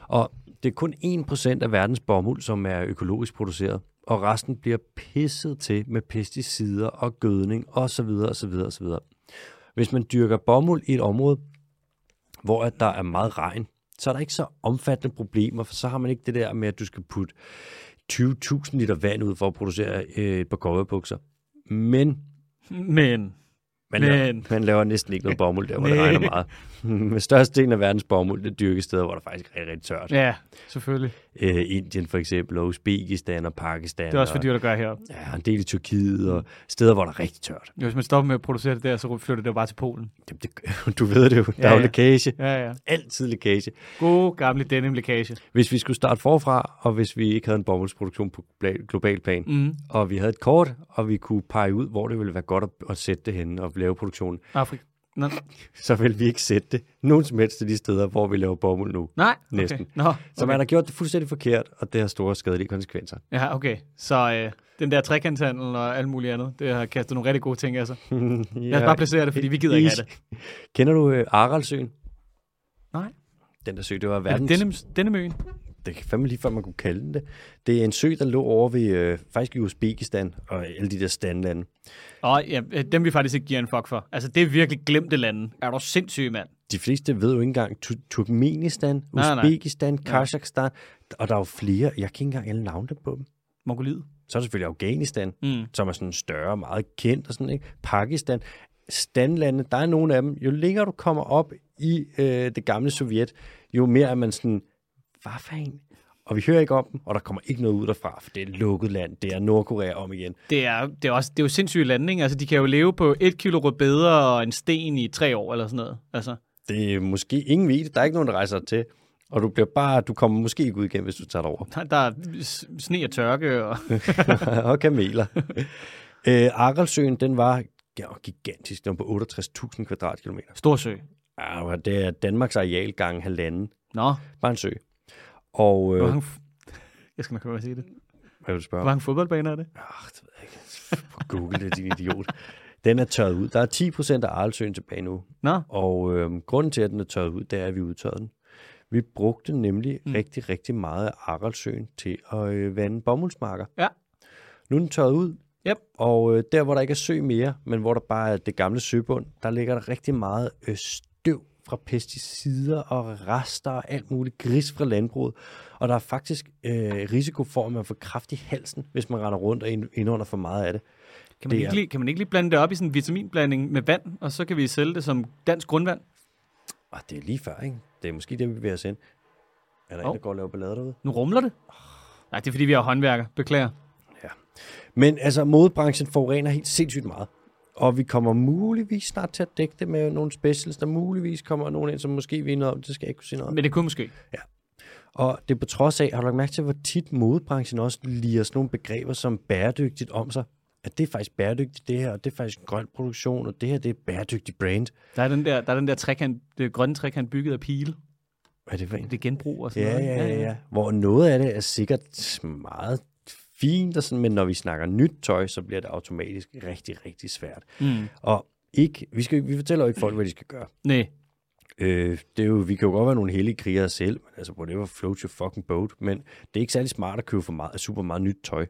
Og det er kun 1% af verdens bomuld, som er økologisk produceret. Og resten bliver pisset til med pesticider og gødning osv. osv. osv. Hvis man dyrker bomuld i et område, hvor at der er meget regn, så er der ikke så omfattende problemer, for så har man ikke det der med, at du skal putte 20.000 liter vand ud for at producere øh, et par cowboybukser. Men Men man, Men. Laver, man laver næsten ikke noget bomuld der, hvor det regner meget. Men Størstedelen af verdens bomuld, det dyrkes steder, hvor der faktisk er rigtig, rigtig tørt. ja, selvfølgelig. Øh, Indien for eksempel, og Uzbekistan og Pakistan. Det er også fordi, der gør her. Og, ja, en del i Tyrkiet, og steder, hvor der er rigtig tørt. Hvis man stopper med at producere det der, så flytter det jo bare til Polen. Jamen, det, du ved det jo, der Ja, er jo ja. lækage. Ja, ja. Altid lækage. God gamle denim-lækage. Hvis vi skulle starte forfra, og hvis vi ikke havde en bomuldsproduktion på gla- global plan, Mm. og vi havde et kort, og vi kunne pege ud, hvor det ville være godt at, at sætte det henne og lave produktionen, Afrika. Nå. så ville vi ikke sætte det nogen som helst af de steder, hvor vi laver bomuld nu. Nej, okay. Næsten. Nå, Så okay. man har gjort det fuldstændig forkert, og det har store skadelige konsekvenser. Ja, okay. Så øh, den der trekantshandel og alt muligt andet, det har kastet nogle rigtig gode ting af sig. Lad os bare placere det, fordi vi gider ikke have det. Kender du øh, Aralsøen? Nej. Den der sø, det var Er det verdens... denim, denimøen? det kan fandme lige før, man kunne kalde den det. Det er en sø, der lå over ved, øh, faktisk i Uzbekistan og alle de der standlande. Og ja, øh, dem vi faktisk ikke giver en fuck for. Altså, det er virkelig glemte lande. Er du sindssyg, mand? De fleste ved jo ikke engang Tu- Turkmenistan, Nej, nej. Uzbekistan, Kazakhstan, og der er jo flere. Jeg kan ikke engang alle navne på dem. Mongoliet. Så er der selvfølgelig Afghanistan, Mm. som er sådan større, meget kendt og sådan, ikke? Pakistan, standlande, der er nogle af dem. Jo længere du kommer op i øh, det gamle Sovjet, jo mere er man sådan, hvad fanden? Og vi hører ikke om dem, og der kommer ikke noget ud derfra, for det er et lukket land, det er Nordkorea om igen. Det er, det, er også, det er jo sindssyge lande, ikke? Altså, de kan jo leve på et kilo rødbeder og en sten i tre år eller sådan noget. Altså, Det er måske ingen ved det, der er ikke nogen, der rejser til, og du bliver bare, du kommer måske ikke ud igen, hvis du tager derover. der, der er s- sne og tørke. Og... og kameler. Øh, Aralsøen, den var ja, gigantisk. Den var på 68.000 kvadratkilometer. Storsø. Ja, og det er Danmarks areal gange halvanden. Nå, Bare en sø. Og øh, hvor hvad mange... f- Jeg skal nok komme og sige det. vil du spørge Hvor om? mange fodboldbaner er det? Ah, det ved jeg ikke. Google det, din idiot. Den er tørret ud. Der er 10 procent af Aralsøen tilbage nu. Nå, Og øh, grunden til, at den er tørret ud, det er, at vi udtørrede den. Vi brugte nemlig Mm. mm. rigtig, rigtig meget af Aralsøen til at øh, vande bomuldsmarker. Ja. Nu er den tørret ud, Yep. og øh, der, hvor der ikke er sø mere, men hvor der bare er det gamle søbund, der ligger der rigtig meget øh, støv fra pesticider og rester og alt muligt gris fra landbruget. Og der er faktisk øh, risiko for, at man får kraft i halsen, hvis man render rundt og ind- indunder for meget af det. Kan man, Det ikke er- lige, kan man ikke lige blande det op i sådan en vitaminblanding med vand, og så kan vi sælge det som dansk grundvand? Og det er lige før, ikke? Det er måske det, vi vil have sendt. Er der oh. Hov. en, der går og laver ballade derude? Nu rumler det. Nej, det er fordi, vi har håndværker. Beklager. Men altså, modebranchen forurener helt sindssygt meget. Og vi kommer muligvis snart til at dække det med nogle specials, der muligvis kommer nogen ind, som måske vinder om. Det skal jeg ikke kunne sige noget om. Men det kunne måske. Og det er på trods af, har du lagt mærke til, hvor tit modebranchen også liger sådan nogle begreber som bæredygtigt om sig? At det er faktisk bæredygtigt det her, og det er faktisk grøn produktion, og det her det er bæredygtigt brand. Der er den der, der, er den der trekant, det grønne trekant bygget af pile. Hvad er det for en? Det er genbrug og sådan Ja, noget. ja, ja, ja. Hvor noget af det er sikkert meget fint, og sådan, men når vi snakker nyt tøj, så bliver det automatisk rigtig, rigtig svært. Mm. Og ikke, vi, skal, jo ikke- vi fortæller jo ikke folk, hvad de skal gøre. Nej, Øh, det er jo, vi kan jo godt være nogle heldige krigere selv, men altså whatever, float your fucking boat, men det er ikke særlig smart at købe for meget, super meget nyt tøj.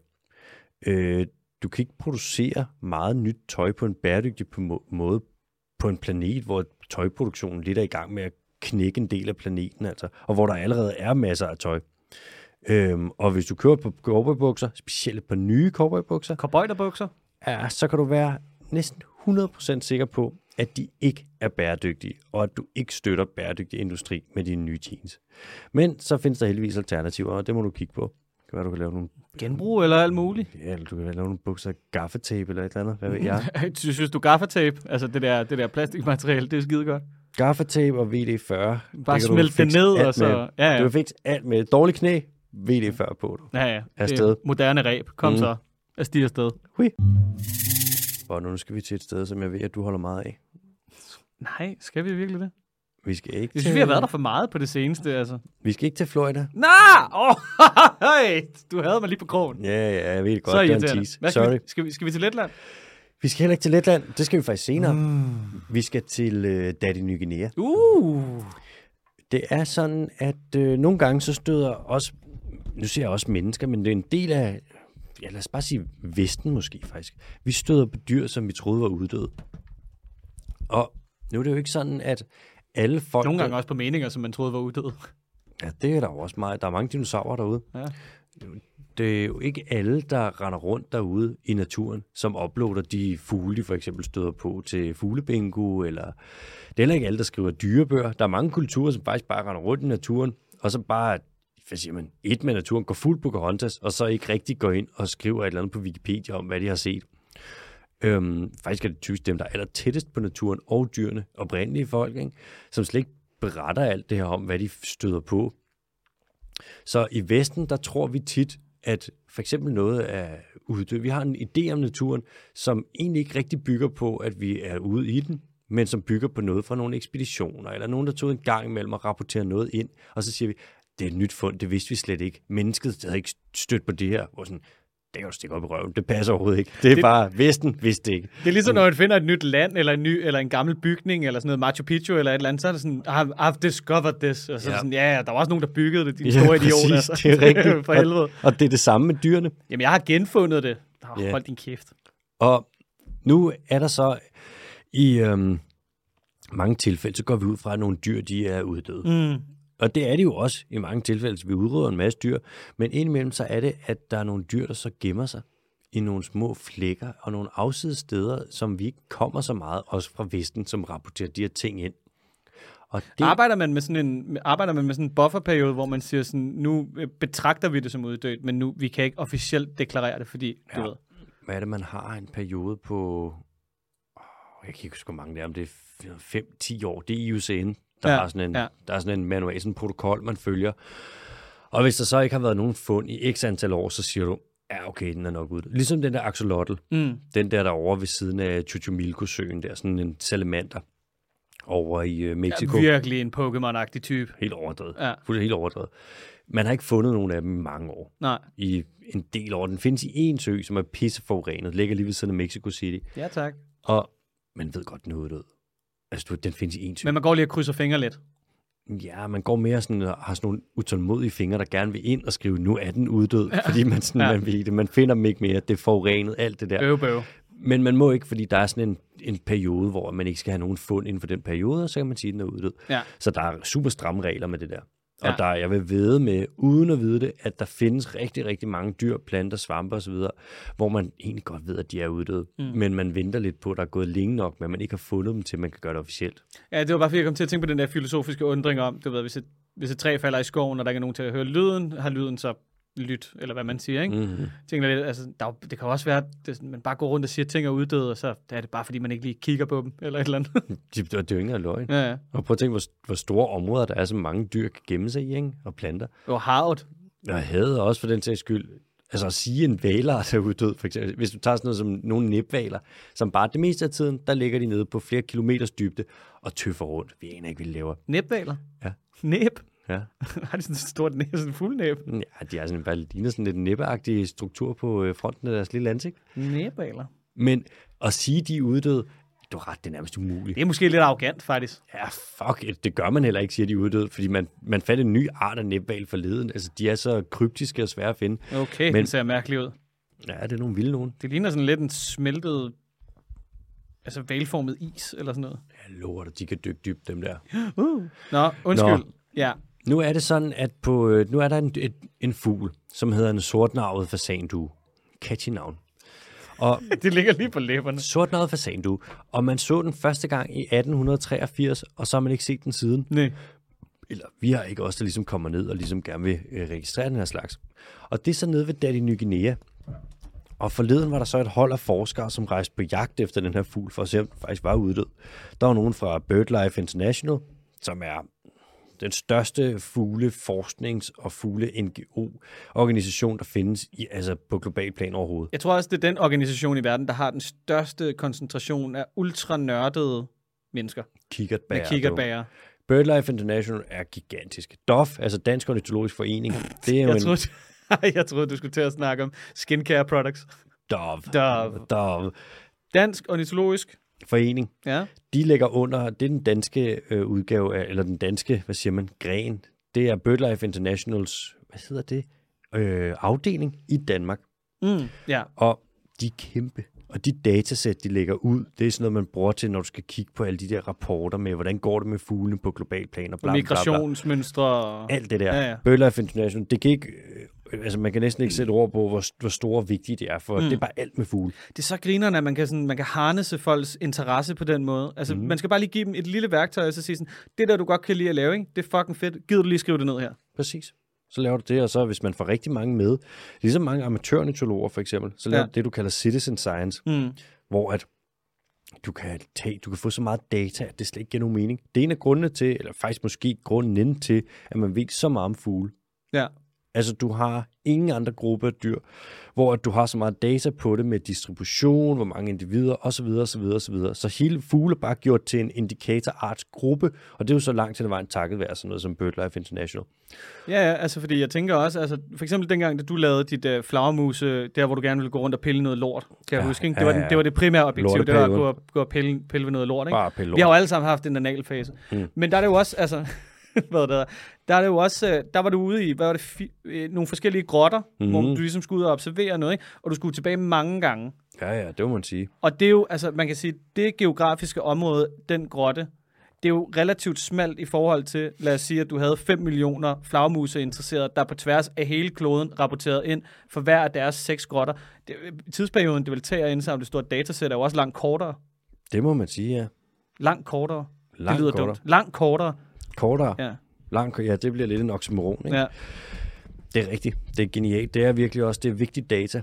Øh, du kan ikke producere meget nyt tøj på en bæredygtig på må- måde på en planet, hvor tøjproduktionen lidt er i gang med at knække en del af planeten, altså, og hvor der allerede er masser af tøj. Øhm, og hvis du kører på cowboybukser, specielt på nye cowboybukser, Cowboyterbukser? ja, så kan du være næsten 100% sikker på, at de ikke er bæredygtige, og at du ikke støtter bæredygtig industri med dine nye jeans. Men så findes der heldigvis alternativer, og det må du kigge på. Det kan være, du kan lave nogle, Genbrug eller alt muligt? ja, eller du kan lave nogle bukser af gaffetape eller et eller andet. Hvad ved jeg? Sy- Synes du gaffatape, altså det der, det der plastikmateriale, det er skide godt. Gaffetape og VD40. Bare kan du smelt det fikse ned, alt og så... Med. Ja, ja. Du kan fikse alt med. Dårlig knæ, VD40 på du. ja, ja. Det Afsted. er moderne ræb. Kom mm. Mm. så. Jeg stiger afsted. Og nu skal vi til et sted, som jeg ved, at du holder meget af. Nej, skal vi virkelig det? Vi skal ikke Jeg synes, vi har været der for meget på det seneste, altså. Vi skal ikke til Florida. Nå! Oh, hey, du havde mig lige på krogen. Ja, ja, jeg ved det godt. så det er en irriterende. tease. Hvad skal, Sorry. vi, skal, vi, skal vi til Letland? Vi skal heller ikke til Letland. Det skal vi faktisk senere. Mm. Vi skal til øh, Daddy Ny Guinea. Uh! Det er sådan, at øh, nogle gange så støder også, nu ser jeg også mennesker, men det er en del af, ja lad os bare sige Vesten måske faktisk. Vi støder på dyr, som vi troede var uddøde. Og nu er det jo ikke sådan, at alle folk... Nogle gange også på meninger, som man troede var uddøde. Ja, det er der jo også meget. Der er mange dinosaurer derude. Ja. Det er jo ikke alle, der render rundt derude i naturen, som uploader de fugle, de for eksempel støder på til fuglebingo, eller det er heller ikke alle, der skriver dyrebøger. Der er mange kulturer, som faktisk bare render rundt i naturen, og så bare, hvad siger man, et med naturen, går fuldt på Pocahontas, og så ikke rigtig går ind og skriver et eller andet på Wikipedia om, hvad de har set. Øhm, faktisk er det typisk dem, der er aller tættest på naturen og dyrene, oprindelige folk, ikke? som slet ikke beretter alt det her om, hvad de støder på. Så i Vesten, der tror vi tit, at for eksempel noget er uddød. Vi har en idé om naturen, som egentlig ikke rigtig bygger på, at vi er ude i den, men som bygger på noget fra nogle ekspeditioner, eller nogen, der tog en gang imellem og rapporterede noget ind, og så siger vi, det er et nyt fund, det vidste vi slet ikke. Mennesket havde ikke stødt på det her. Hvor sådan, det kan du stikke op i røven, det passer overhovedet ikke. Det er Det- bare, Vesten vidste det ikke. Det er ligesom, når man finder et nyt land, eller en, ny, eller en gammel bygning, eller sådan noget Machu Picchu, eller et eller andet, så er det sådan, I've, I've discovered this. Og så er det Ja. sådan, ja, ja, der var også nogen, der byggede det, de Ja, store idioter. præcis, det er rigtigt. altså. For helvede. Og, og det er det samme med dyrene. Jamen, jeg har genfundet det. Oh, Ja. Hold din kæft. Og nu er der så i øhm, mange tilfælde, så går vi ud fra, at nogle dyr de er uddøde. Mm. Og det er det jo også i mange tilfælde, så vi udrydder en masse dyr. Men indimellem så er det, at der er nogle dyr, der så gemmer sig i nogle små flækker og nogle afsides steder, som vi ikke kommer så meget, også fra Vesten, som rapporterer de her ting ind. Og det, Arbejder man med sådan en arbejder man med sådan en bufferperiode, hvor man siger sådan, nu øh, betragter vi det som uddødt, men nu vi kan ikke officielt deklarere det, fordi ja. du Ja. ved. hvad er det, man har en periode på... Åh, Jeg kan ikke huske, hvor mange det er, om det er 5-10 år. Det er IUCN, der, Ja, ja, har sådan en, ja. ja. der er sådan en manual, sådan en protokol, man følger. Og hvis der så ikke har været nogen fund i x antal år, så siger du, ja okay, den er nok uddød. Ligesom den der axolotl, Mm. den der derovre ved siden af Chuchumilco-søen, der sådan en salamander over i øh, Mexico. Ja, virkelig en Pokémon-agtig type. helt overdrevet. Ja. Fuldt helt overdrevet. Man har ikke fundet nogen af dem i mange år. Nej. I en del år. Den findes i en sø, som er pisseforurenet. Ligger lige ved siden af Mexico City. Ja, tak. Og man ved godt, den er uddød. Altså, du, den findes i en sø. Men man går lige og krydser fingre lidt. Ja, man går mere sådan, og har sådan nogle utålmodige fingre, der gerne vil ind og skrive, nu er den uddød, ja. fordi man, sådan, Ja. ja. man, ved det. man finder dem ikke mere, det er forurenet, alt det der. Bøv, bøv. Men man må ikke, fordi der er sådan en, en periode, hvor man ikke skal have nogen fund inden for den periode, og så kan man sige, at den er uddød. Ja. Så der er super stramme regler med det der. Og Ja. ja. der, er- jeg vil vide med, uden at vide det, at der findes rigtig, rigtig mange dyr, planter, svampe osv., hvor man egentlig godt ved, at de er uddøde. Mm. Men man venter lidt på, at der er gået længe nok, men man ikke har fundet dem til, at man kan gøre det officielt. Ja, det var bare fordi, jeg kom til at tænke på den der filosofiske undring om, du ved, hvis et, hvis et træ falder i skoven, og der ikke er nogen til at høre lyden, har lyden så lyt, eller hvad man siger, ikke? Mm-hmm. Tænker lidt, altså, der, er jo- det kan jo også være, at det, er sådan, man bare går rundt og siger, at ting er uddøde, og så er det bare, fordi man ikke lige kigger på dem, eller et eller andet. Det, det er jo ikke engang løgn. Ja. ja, ja. Og prøv at tænke, hvor, hvor store områder der er, så mange dyr kan gemme sig i, ikke? og planter. Og havet. Og havde også for den sags skyld, altså at sige en valart er uddød, for eksempel. Hvis du tager sådan noget som nogle næbvaler, som bare det meste af tiden, der ligger de nede på flere kilometers dybde og tøffer rundt. Vi aner ikke, hvad de laver. Næbvaler? Ja. Næb? Ja, Har de sådan et stort næb, sådan en fuld næb? ja de er sådan, bare ligner sådan lidt næbbeagtig struktur på øh, fronten af deres lille ansigt. Næbvaler? Men at sige, de er uddøde, du har ret, det er nærmest umuligt. Det er måske lidt arrogant, faktisk. Ja, fuck, it, det gør man heller ikke, siger de er uddøde, fordi man, man fandt en ny art af næbval forleden. Altså, de er så kryptiske og svære at finde. Okay, Men... Men- den ser mærkelig ud. Ja, det er nogle vilde nogen. Det ligner sådan lidt en smeltet, altså valformet is, eller sådan noget. Jeg lover dig, de kan dykke dybt, dem der. Uh. Nå, undskyld. Nå. Nå. Ja, Nu er det sådan, at på, øh, nu er der en, et, en fugl, som hedder en sortnarvet fasandue. Catchy navn. Og det ligger lige på læberne. sortnarvet fasandue. Og man så den første gang i 1883, og så har man ikke set den siden. Nej. Eller vi har ikke også der ligesom kommer ned og ligesom gerne vil øh, registrere den her slags. Og det er så nede ved Daddy Ny Guinea. Og forleden var der så et hold af forskere, som rejste på jagt efter den her fugl, for at se, om den faktisk var uddød. Der var nogen fra BirdLife International, som er den største fugleforsknings- og fugle-NGO-organisation, der findes i, altså på global plan overhovedet. Jeg tror også, det er den organisation i verden, der har den største koncentration af ultranørdede mennesker med Kikkertbær. kikkerbærer. BirdLife International er gigantisk. DOF, altså Dansk Ornitologisk Forening, det er jo Jeg en... troede, jeg troede, du skulle til at snakke om skincare products. DOF. Dove. DOF. Dansk ornitologisk. Forening. Ja. De ligger under, det er den danske øh, udgave, af, eller den danske, hvad siger man, gren. Det er BirdLife Internationals, hvad hedder det, øh, afdeling i Danmark. Mm. Ja. Og de er kæmpe. Og de datasæt, de lægger ud, det er sådan noget, man bruger til, når du skal kigge på alle de der rapporter med, hvordan går det med fuglene på global plan og bla, bla, bla, bla. Migrationsmønstre. og- Alt det der. Ja, ja. BirdLife International, det kan ikke, øh, altså man kan næsten ikke sætte ord på, hvor, hvor store og vigtige det er, for mm. det er bare alt med fugle. Det er så grinerne, at man kan, sådan, man kan harnesse folks interesse på den måde. Altså, mm. man skal bare lige give dem et lille værktøj, og så sige sådan, det der, du godt kan lide at lave, ikke? det er fucking fedt. Gider du lige skrive det ned her? Præcis. Så laver du det, og så hvis man får rigtig mange med, ligesom mange amatørnitologer for eksempel, så laver Ja. ja. det, du kalder citizen science, Mm. hvor at du kan, tage, du kan få så meget data, at det slet ikke giver nogen mening. Det er en af grundene til, eller faktisk måske grunden til, at man ved så meget om fugle. Ja. Altså, du har ingen andre gruppe af dyr, hvor at du har så meget data på det med distribution, hvor mange individer osv. osv. osv. Så hele fugle er bare gjort til en indikatorartsgruppe, og det er jo så langt til vejen takket være sådan noget som BirdLife International. Ja, ja, altså fordi jeg tænker også, altså for eksempel dengang, da du lavede dit øh, flagermuse, der hvor du gerne ville gå rundt og pille noget lort, kan jeg Ja, huske, ikke? ja, Det, var ja, den, ja. det var det primære objektiv, det var at gå, Lorteperioden. og- gå og pille, pille ved noget lort, ikke? Bare pille Vi har lort. Hmm. jo alle sammen haft en analfase. Mm. Men der er det jo også, altså, hvad der, der er det jo også, øh, der var du ude i, hvad var det, fi, øh, nogle forskellige grotter, mm. Mhm. hvor du ligesom skulle ud og observere noget, ikke? Og du skulle tilbage mange gange. Ja, ja, det må man sige. Og det er jo, altså man kan sige, det geografiske område, den grotte, det er jo relativt smalt i forhold til, lad os sige, at du havde 5 millioner flagmuse interesserede, der på tværs af hele kloden rapporteret ind for hver af deres seks grotter. Det, tidsperioden, det vil tage at indsamle et stort datasæt, er jo også langt kortere. Det må man sige, ja. Langt kortere. Langt det lyder kortere. dumt. Langt kortere. Kortere. Ja. Ja. Langt, ja, det bliver lidt en oxymoron, ikke? Ja. ja. Det er rigtigt. Det er genialt. Det er virkelig også, det er vigtigt data.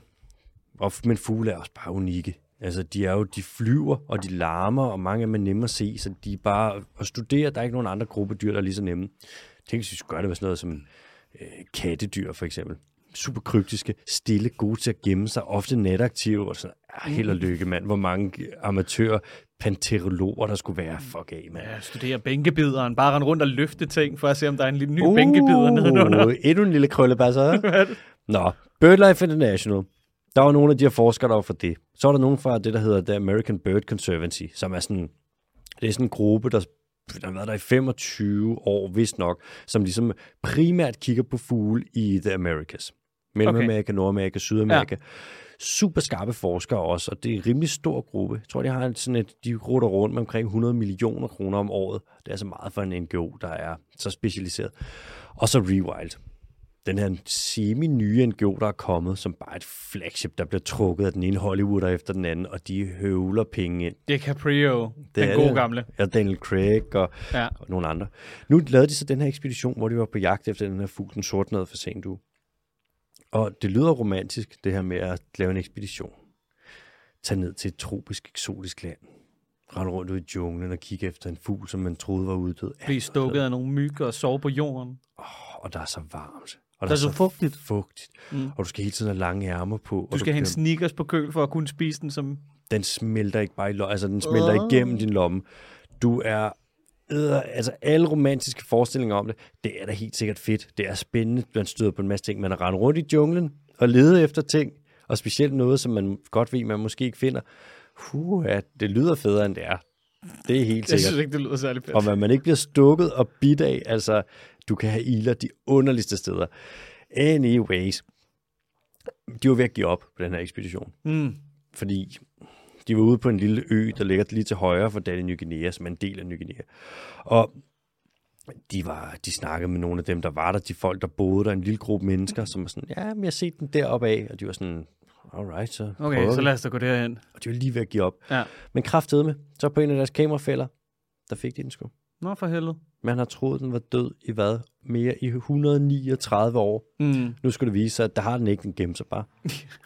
Og, f- men fugle er også bare unikke. Altså, de er jo, de flyver, og de larmer, og mange af dem er nemme at se, så de er bare, at studere, der er ikke nogen andre gruppe dyr, der er lige så nemme. Tænk, hvis vi skulle gøre det med sådan noget som øh, kattedyr, for eksempel. Super kryptiske, stille, gode til at gemme sig, ofte nataktive, og sådan, ah, held og lykke, mand. Hvor mange amatører, panterologer, der skulle være. Fuck af, mand. Jeg studerer bænkebideren. Bare rende rundt og løfte ting, for at se, om der er en lille ny uh. bænkebider nedenunder. Uh, endnu en lille krøllebasse. Nå, BirdLife International. Der var nogle af de her forskere, der var for det. Så var der nogen fra det, der hedder The American Bird Conservancy, som er sådan, det er sådan en gruppe, der den har været der i 25 år, vist nok, som ligesom primært kigger på fugle i The Americas. Mellemamerika, okay. Nordamerika, Sydamerika. Ja. Super skarpe forskere også, og det er en rimelig stor gruppe. Jeg tror, de har sådan et, de rutter rundt med omkring 100 millioner kroner om året. Det er så meget for en NGO, der er så specialiseret. Og så Rewild. Den her semi-nye NGO, der er kommet som bare et flagship, der bliver trukket af den ene Hollywooder efter den anden, og de høvler penge ind. Det er Caprio, Det den er gode det. gamle. Ja, Daniel Craig og, Ja. ja. og nogle andre. Nu lavede de så den her ekspedition, hvor de var på jagt efter den her fugl, den sortnede for sent du. Og det lyder romantisk, det her med at lave en ekspedition. Tag ned til et tropisk, eksotisk land. Rende rundt ud i junglen og kigge efter en fugl, som man troede var uddød. Blive stukket af nogle myg og sove på jorden. Åh, og der er så varmt. Og Der er så fugtigt. fugtigt. Mm. Mm. Og du skal hele tiden have lange ærmer på. og Du skal have en bliver- sneakers på køl for at kunne spise den som... den smelter ikke bare i lommen, altså den smelter Åh. oh. igennem din lomme. Du er, øh, altså alle romantiske forestillinger om det, det er da helt sikkert fedt. Det er spændende, man støder på en masse ting. Man har rendt rundt i junglen og ledet efter ting, og specielt noget, som man godt ved, man måske ikke finder. Huh, ja, det lyder federe, end det er. Det er helt Jeg sikkert. synes ikke, det lyder særlig fedt. Og hvad man ikke bliver stukket og bidt af, altså, du kan have iler de underligste steder. Anyways, de var ved at give op på den her ekspedition Mm. fordi de var ude på en lille ø, der ligger lige til højre for Dalle Ny Guinea, som er en del af Ny Guinea. Og de, var, de snakkede med nogle af dem, der var der, de folk, der boede der, en lille gruppe mennesker, som var sådan, ja, men jeg har set den deroppe af, og de var sådan, alright, så Okay, prøver så vi." lad os da gå derhen. Og de var lige ved at give op. Ja. Men kraftede med, så på en af deres kamerafælder, der fik de den sgu. Nå, for helvede. Man har troet, den var død i hvad? Mere i 139 år. Mm. Nu skulle det vise sig, at der har den ikke, den gemte sig bare.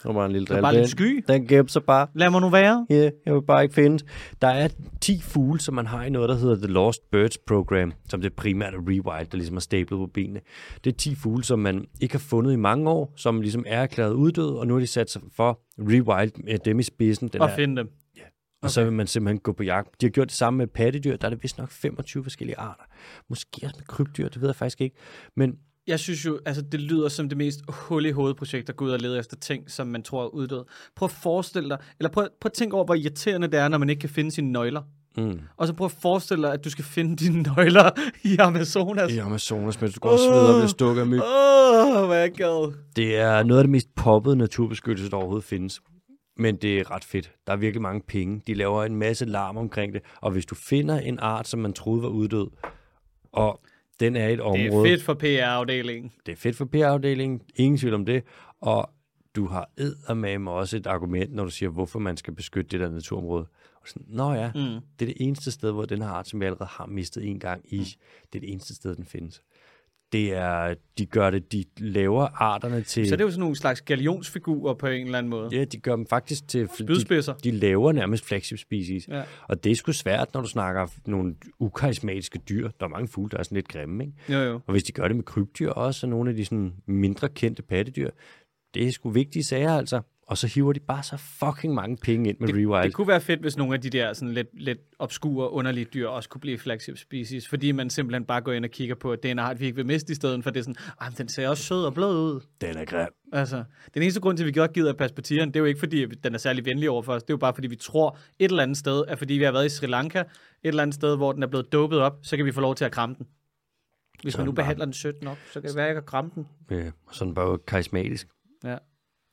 Der var en lille Der er bare lidt drille. sky. Den gemte sig bare. Lad mig nu være. Ja, jeg vil bare ikke finde. Der er 10 fugle, som man har i noget, der hedder The Lost Birds Program, som det primært er Rewild, der ligesom er stablet på benene. Det er 10 fugle, som man ikke har fundet i mange år, som ligesom er erklæret uddøde, og nu har de sat sig for Rewild med dem i spidsen. Den Og er, finde dem. og så vil man simpelthen gå på jagt. De har gjort det samme med pattedyr. Der er det vist nok 25 forskellige arter. Måske også med krybdyr, det ved jeg faktisk ikke. Men Jeg synes jo, altså det lyder som det mest hul i hovedprojekt at gå ud og lede efter ting, som man tror er uddød. Prøv at forestille dig, eller prøv, prøv at tænke over, hvor irriterende det er, når man ikke kan finde sine nøgler. mm, Og så prøv at forestille dig, at du skal finde dine nøgler i Amazonas. i Amazonas, mens du går og sveder og bliver stukket af myg. Åh, oh, hvad jeg gad. Det er noget af det mest poppede naturbeskyttelse, der overhovedet findes. Men det er ret fedt. Der er virkelig mange penge. De laver en masse larm omkring det. Og hvis du finder en art, som man troede var uddød, og den er i et Det område... er fedt for PR-afdelingen. det er fedt for PR-afdelingen. Ingen tvivl om det. Og du har eddermame også et argument, når du siger, hvorfor man skal beskytte det der naturområde. Og sådan, Nå ja, mm. det er det eneste sted, hvor den her art, som jeg allerede har mistet en gang i, det er det eneste sted, den findes. Det er, de gør det, de laver arterne til... Så det er jo sådan nogle slags galionsfigurer på en eller anden måde. Ja, de gør dem faktisk til... Spydspidser. De, de laver nærmest flagship species. Ja. Og det er sgu svært, når du snakker nogle ukarismatiske dyr. Der er mange fugle, der er sådan lidt grimme, ikke? Jo, jo. Og hvis de gør det med krybdyr også, og nogle af de sådan mindre kendte pattedyr, det er sgu vigtige sager, altså. Og så hiver de bare så fucking mange penge ind med det, Rewild. Det kunne være fedt, hvis nogle af de der sådan lidt, lidt obskure, underlige dyr også kunne blive flagship species, fordi man simpelthen bare går ind og kigger på, at det er en art, vi ikke vil miste i stedet for det er sådan, "Ej, men den ser også sød og blød ud. Den er grim. Altså, den eneste grund til, at vi godt gider at passe på tigeren, det er jo ikke, fordi at den er særlig venlig over for os. Det er jo bare, fordi vi tror et eller andet sted, at fordi vi har været i Sri Lanka, et eller andet sted, hvor den er blevet dopet op, så kan vi få lov til at kramme den. Hvis man er nu den bare- behandler den sødt nok, så kan det være, at jeg kan kramme den. Ja, og Øh, sådan bare karismatisk. Ja.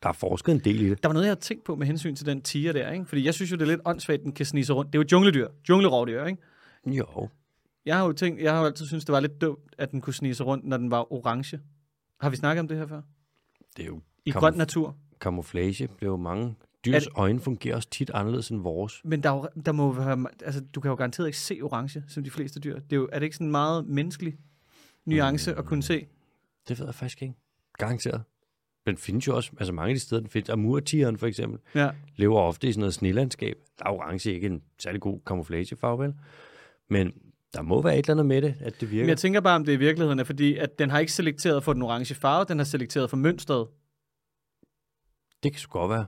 Der er forsket en del i det. Der var noget, jeg havde tænkt på med hensyn til den tiger der, ikke? Fordi jeg synes jo, det er lidt åndssvagt, den kan snige sig rundt. Det er jo et jungledyr, junglerovdyr, ikke? Jo. Jeg har jo tænkt, jeg har jo altid syntes, det var lidt dumt, at den kunne snige sig rundt, når den var orange. Har vi snakket om det her før? Det er jo I Kom. grøn natur. kamuflage. Det er jo mange. Dyrs Er øjne fungerer også tit anderledes end vores. Men der, er jo- der må jo være, altså, du kan jo garanteret ikke se orange, som de fleste dyr. Det er, jo, er det ikke sådan en meget menneskelig nuance at kunne se? Det ved jeg faktisk ikke. Garanteret. Men Den findes jo også, altså mange af de steder, den findes. Amurtigeren for eksempel, Ja. lever ofte i sådan noget snelandskab. Der er orange ikke en særlig god kamuflagefarve, vel? Men der må være et eller andet med det, at det virker. Men jeg tænker bare, om det i virkeligheden er, fordi at den har ikke selekteret for den orange farve, den har selekteret for mønstret. Det kan sgu godt være.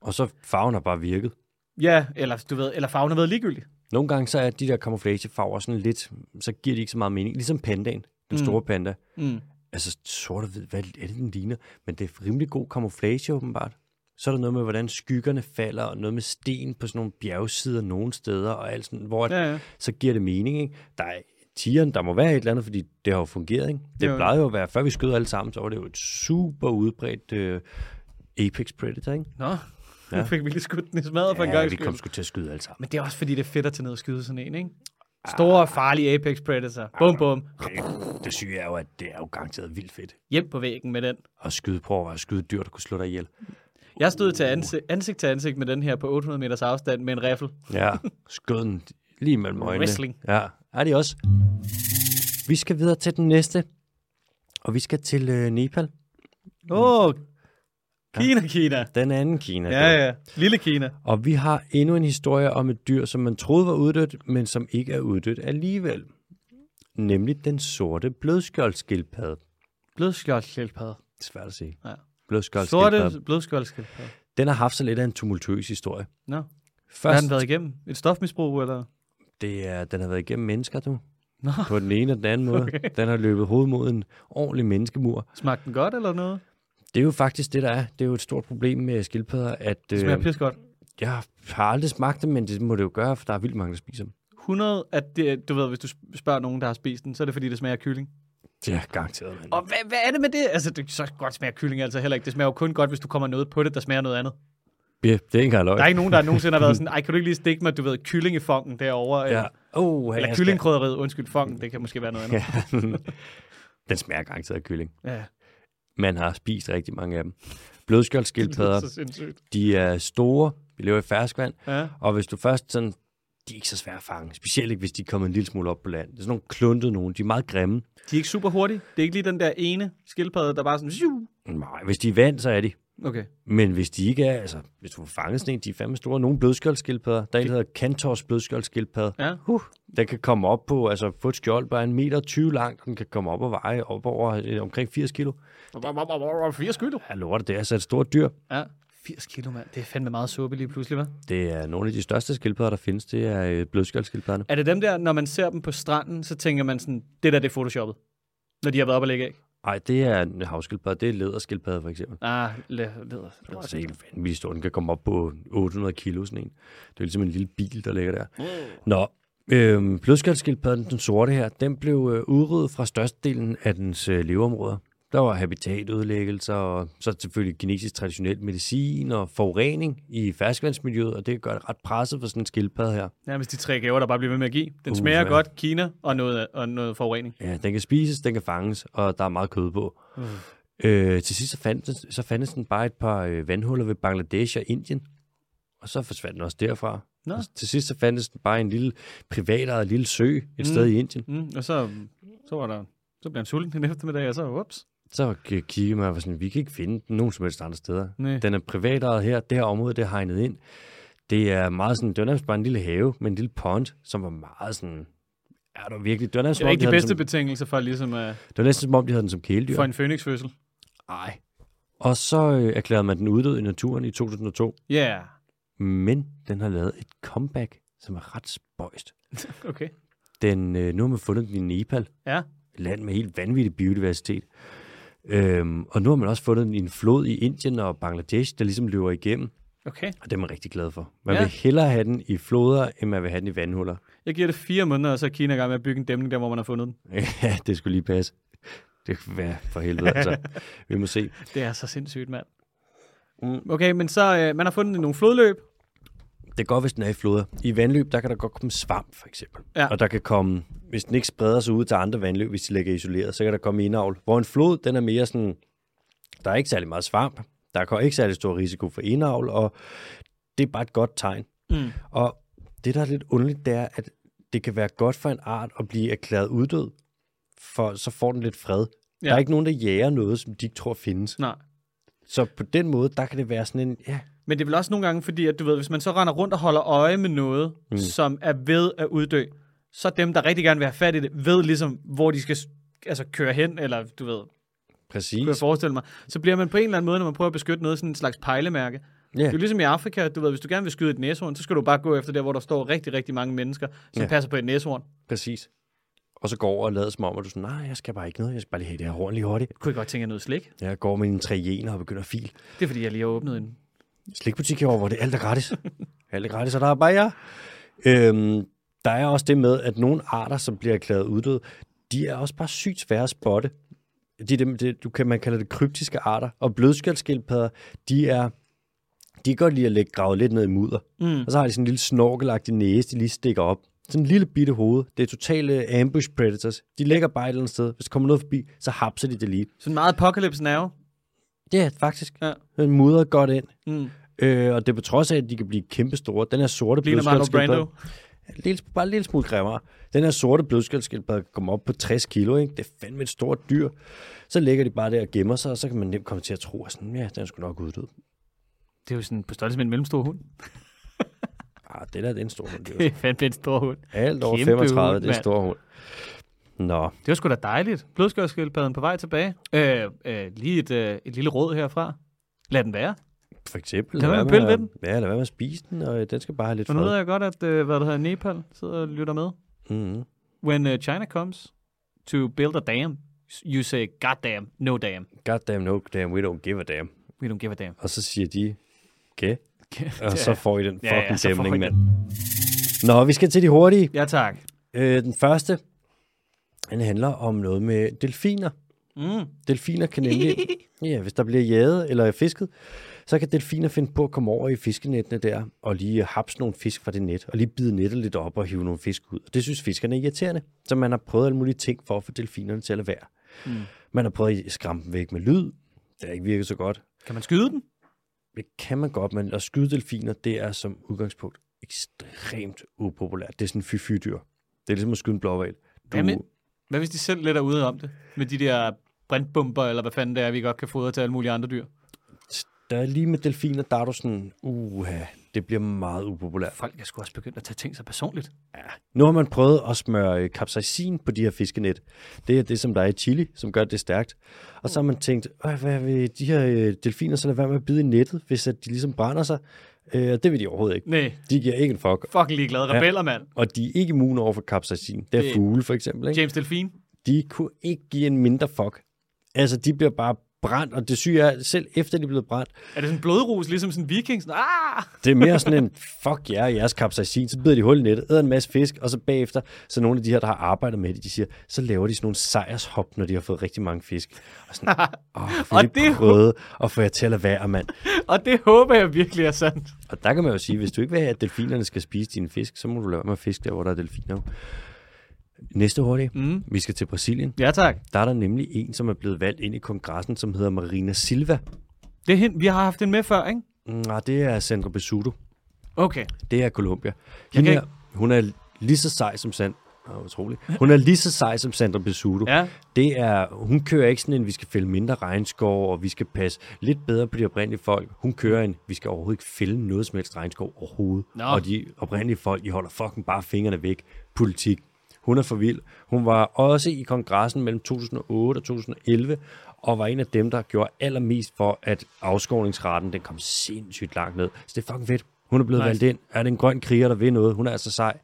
Og så farven har bare virket. Ja, eller, du ved, eller farven har været ligegyldig. Nogle gange så er de der kamuflagefarver sådan lidt, så giver de ikke så meget mening. Ligesom pandaen, den Mm. store panda. Mm. Altså sort og hvid, hvad er det, den ligner? Men det er rimelig god kamuflage åbenbart. Så er der noget med, hvordan skyggerne falder, og noget med sten på sådan nogle bjergsider nogle steder, og alt sådan, hvor ja, Ja, ja. ja. så giver det mening. Ikke? Der er tieren, der må være et eller andet, fordi det har jo fungeret. Ikke? Det Jo. jo. plejede jo at være, før vi skød alle sammen, så var det jo et super udbredt øh, Apex Predator. Ikke? Nå, ja. nu fik vi lige skudt den i smadret for en Ja, gang vi kom sgu til at skyde alle sammen. Men det er også fordi, det er fedt at tage ned og skyde sådan en, ikke? Store, farlige Apex Predator. Bum, bum. Det syge er jo, at det er jo garanteret vildt fedt Hjem på væggen med den. at skyde på og at skyde dyr, der kunne slå dig ihjel. Jeg stod til ansigt, ansigt til ansigt med den her på 800 meters afstand med en riffel. Ja, skøden lige mellem øjnene. Wrestling. Ja, er de også. Vi skal videre til den næste, og vi skal til øh, Nepal. Åh, oh, Kina, Kina. Den anden Kina. Ja, du. ja. Lille Kina. Og vi har endnu en historie om et dyr, som man troede var uddødt, men som ikke er uddødt alligevel. Nemlig den sorte blødskjoldskildpadde. Blødskjoldskildpadde. Det er svært at sige. Ja. Blødskjoldskildpadde. Sorte blødskjoldskildpadde. Den har haft så lidt af en tumultuøs historie. Nå, hvad har Først, den været igennem? Et stofmisbrug, eller? det er, den har været igennem mennesker, du. Nå. På den ene og den anden måde. Okay. Den har løbet hovedet mod en ordentlig menneskemur. Smagte den godt, eller noget? Det er jo faktisk det, der er. Det er jo et stort problem med skildpadder, at Det øh, smager pis godt. jeg har aldrig smagt dem, men det må det jo gøre, for der er vildt mange, der spiser dem. 100, at det, du ved, hvis du spørger nogen, der har spist den, så er det fordi, det smager af kylling. Det er garanteret, mand. Og hvad, hvad er det med det? Altså, det så godt smager kylling altså heller ikke. Det smager jo kun godt, hvis du kommer noget på det, der smager noget andet. Ja, det er ikke engang løgn. Der er ikke nogen, der nogensinde har været sådan, ej, kan du ikke lige stikke mig, du ved, kyllingefongen derovre? Ja. Eller, Oh, eller kyllingkrydderiet, undskyld, fongen, det kan måske være noget andet. Ja. den smager garanteret af kylling. Ja, Man har spist rigtig mange af dem. det lyder så Blødskjoldskildpadder, sindssygt. de er store, de lever i ferskvand, Ja. og hvis du først sådan, de er ikke så svære at fange, specielt ikke, hvis de kommer en lille smule op på land. Det er sådan nogle kluntede nogen, de er meget grimme. De er ikke super hurtige. Det er ikke lige den der ene skildpadde, der bare sådan, Sju! Nej, hvis de er i vand, så er de. Okay. Men hvis de ikke er, altså, hvis du får fanget sådan en, de er fandme store. Nogle blødskjoldskildpadder, der er en, der hedder Kantors blødskjoldskildpadde. Ja. Huh. Den kan komme op på, altså få et skjold, bare en meter 20 langt, den kan komme op og veje op over øh, omkring 80 kilo. 80 kilo. Jeg lover dig, det er altså et stort dyr. Ja. 80 kilo, mand. Det er fandme meget suppe lige pludselig, hva'? Det er nogle af de største skildpadder, der findes, det er øh, blødskjoldskildpadderne. Er det dem der, når man ser dem på stranden, så tænker man sådan, det der, det er photoshoppet? Når de har været op og lægge æg? Nej, det er en havskildpadde, det er læderskildpadde for eksempel. Ah, leder. leder. Det er altså helt vanvittigt stor. Den kan komme op på 800 kilo, sådan en. Det er jo ligesom en lille bil, der ligger der. Nå, øhm, blødskjoldskildpadden, den sorte her, den blev øh, udryddet fra størstedelen af dens øh, leveområder. Der var habitatudlæggelser, og så selvfølgelig kinesisk traditionel medicin og forurening i ferskvandsmiljøet, og det gør det ret presset for sådan en skildpadde her. Nærmest de tre gaver, der bare bliver ved med at give. Den Uh, smager ja. godt, Kina og noget, og noget forurening. Ja, den kan spises, den kan fanges, og der er meget kød på. Mm. Øh, til sidst så fandtes, så fandtes den bare et par øh, vandhuller ved Bangladesh og Indien, og så forsvandt den også derfra. Nå. Og til sidst så fandtes den bare i en lille privat lille sø et mm. sted i Indien. Mm, og så, så var der så blev han sulten den eftermiddag, og så, ups. Så k- kiggede man og var sådan, vi kan ikke finde den nogen som helst andre steder. Nej. Den er privat her, det her område, det er hegnet ind. Det er meget sådan, det var nærmest bare en lille have med en lille pond, som var meget sådan, er der virkelig, det var, nærmest, Det som er om, ikke de havde den bedste som, betingelser for ligesom at det var næsten som om, de havde den som kæledyr. få en fønixfødsel. Nej. Og så øh, erklærede man den uddød i naturen i 2002, Ja, yeah. men den har lavet et comeback, som er ret spøjst. okay. Den, øh, nu har man fundet den i Nepal, Ja, et land med helt vanvittig biodiversitet. Øhm, og nu har man også fundet den i en flod i Indien og Bangladesh, der ligesom løber igennem, okay. og det er man rigtig glad for. Man Ja. ja. vil hellere have den i floder, end man vil have den i vandhuller. Jeg giver det fire måneder, og så er Kina i gang med at bygge en dæmning der, hvor man har fundet den. ja, det skulle lige passe. Det kan være for helvede, altså. Vi må se. Det er så sindssygt, mand. Okay, men så øh, man har fundet den i nogle flodløb. Det er godt, hvis den er i floder. I vandløb, der kan der godt komme svamp, for eksempel. Ja. Og der kan komme, hvis den ikke spreder sig ud til andre vandløb, hvis de ligger isoleret, så kan der komme indavl. Hvor en flod, den er mere sådan, der er ikke særlig meget svamp, der er ikke særlig stor risiko for indavl, og det er bare et godt tegn. Mm. Og det, der er lidt underligt, det er, at det kan være godt for en art at blive erklæret uddød, for så får den lidt fred. Ja. Ja. Der er ikke nogen, der jager noget, som de ikke tror findes. Nej. Så på den måde, der kan det være sådan en, ja, Men det er vel også nogle gange fordi, at du ved, hvis man så render rundt og holder øje med noget, mm. som er ved at uddø, så dem, der rigtig gerne vil have fat i det, ved ligesom, hvor de skal s- altså, køre hen, eller du ved, præcis. kunne jeg forestille mig. Så bliver man på en eller anden måde, når man prøver at beskytte noget, sådan en slags pejlemærke. Yeah. Det er jo ligesom i Afrika, du ved, hvis du gerne vil skyde et næshorn, så skal du bare gå efter der, hvor der står rigtig, rigtig mange mennesker, som Ja. passer på et næshorn. Præcis. Og så går over og lader som om, at du er sådan, nej, jeg skal bare ikke noget, jeg skal bare lige have det her horn lige hurtigt. Kunne jeg godt tænke af noget slik? Jeg går med en træjener og begynder at fil. Det er fordi, jeg lige har åbnet en slikbutik herovre, hvor det alt er gratis. alt er gratis, og der er bare jer. Øhm, der er også det med, at nogle arter, som bliver erklæret uddøde, de er også bare sygt svære at spotte. De, de, de, du kan, man kalder det kryptiske arter. Og blødskældskildpadder, de er de kan godt lide at lægge gravet lidt ned i mudder. Mm. Og så har de sådan en lille snorkelagtig næse, de lige stikker op. Sådan en lille bitte hoved. Det er totale øh, ambush predators. De ligger bare et eller andet sted. Hvis der kommer noget forbi, så hapser de det lige. Sådan meget apocalypse now. Det er faktisk. Ja. Den mudrer godt ind. Mm. Øh, og det er på trods af, at de kan blive kæmpestore. Den her sorte Ligner Marlon Brando. blødskældskildpadde... Lille, bare en lille smule grimmere. Den her sorte blødskældskildpadde kan komme op på 60 kilo. Ikke? Det er fandme et stort dyr. Så ligger de bare der og gemmer sig, og så kan man nemt komme til at tro, at sådan, ja, den skulle nok uddød. Det er jo sådan på størrelse med en mellemstor hund. Ah, det der, det er en stor hund. Det er jo Det er fandme en stor hund. Alt over Kæmpe 35, det hund, er en mand. stor hund. Nå, Det var sgu da dejligt. Blødskørskildpadden på vej tilbage. Øh, øh, lige et, øh, et lille råd herfra. Lad den være. for eksempel... Lad være med at pille ved at- Ja, lad være med at spise den, og øh, den skal bare have lidt For nu ved fred. jeg godt, at øh, hvad der hedder Nepal sidder og lytter med. Mm-hmm. When uh, China comes to build a dam, you say, God damn, no damn. God damn, no damn, we don't give a damn. We don't give a damn. Og så siger de, okay, og Ja. så får I den Ja, ja, fucking så får I dæmning, den. mand. Nå, vi skal til de hurtige. Ja, tak. Øh, den første, den handler om noget med delfiner. Mm. Delfiner kan nemlig, ja, hvis der bliver jaget eller fisket, så kan delfiner finde på at komme over i fiskenettene der, og lige hapse nogle fisk fra det net, og lige bide nettet lidt op og hive nogle fisk ud. Og det synes fiskerne er irriterende, så man har prøvet alle mulige ting for at få delfinerne til at lade være. Mm. Man har prøvet at skræmme dem væk med lyd, det har ikke virket så godt. Kan man skyde den? Det kan man godt, men at skyde delfiner, det er som udgangspunkt ekstremt upopulært. Det er sådan en fy-fy-dyr. Det er ligesom at skyde en blåval. Du, Hvad, med, hvad hvis de selv lidt er ude om det? Med de der brintbomber, eller hvad fanden det er, vi godt kan fodre til alle mulige andre dyr. der er lige med delfiner, der er du sådan, uha, det bliver meget upopulært. Folk er sgu også begyndt at tage ting så personligt. Nu har man prøvet at smøre øh, capsaicin på de her fiskenet. Det er det, som der er i chili, som gør det stærkt. Og så har man tænkt, "Åh, hvad vil de her øh, delfiner så lade være med at bide i nettet, hvis at de ligesom brænder sig? Øh, og det vil de overhovedet ikke. Nej, De giver ikke en fuck. fucking ligeglade rebeller, mand. Og de er ikke immune over for capsaicin. Det er Det- fugle for eksempel. Ikke? James Delfin. de kunne ikke give en mindre fuck. Altså, de bliver bare brændt, og det syge er, selv efter de er blevet brændt, Er det sådan en blodrus, ligesom sådan en viking? Sådan, ah! det er mere sådan en, fuck jer, jeres kapsacin, så bider de hul i nettet, æder en masse fisk, og så bagefter, så nogle af de her, der har arbejdet med det, de siger, så laver de sådan nogle sejrshop, når de har fået rigtig mange fisk. Og sådan, åh, Og oh, det det- er prøvede at få jer til at lade være, mand. Og det håber jeg virkelig er sandt. Og der kan man jo sige, hvis du ikke vil have, at delfinerne skal spise dine fisk, så må du lade være med at fiske der, hvor der er delfiner. jo. Næste hurtigt, mm. vi skal til Brasilien. Ja, tak. Der er der nemlig en, som er blevet valgt ind i kongressen, som hedder Marina Silva. Det er hende. Vi har haft den med før, ikke? Nej, det er Sandra Besuto. Okay. Det er Colombia. Hende kan her, hun er lige så sej som Sand. Oh, utrolig. Hun er lige så sej som Sandra Besuto. Ja. Det er, hun kører ikke sådan en, vi skal fælde mindre regnskov, og vi skal passe lidt bedre på de oprindelige folk. Hun kører en, vi skal overhovedet ikke fælde noget som helst regnskov overhovedet. Nå. Og de oprindelige folk, de holder fucking bare fingrene væk. Politik. Hun er for vild. Hun var også i kongressen mellem 2008 og 2011, og var en af dem, der gjorde allermest for, at afskovningsraten den kom sindssygt langt ned. Så det er fucking fedt. Hun er blevet Nice. nice. valgt ind. Er det en grøn kriger, der vil noget? Hun er altså sej.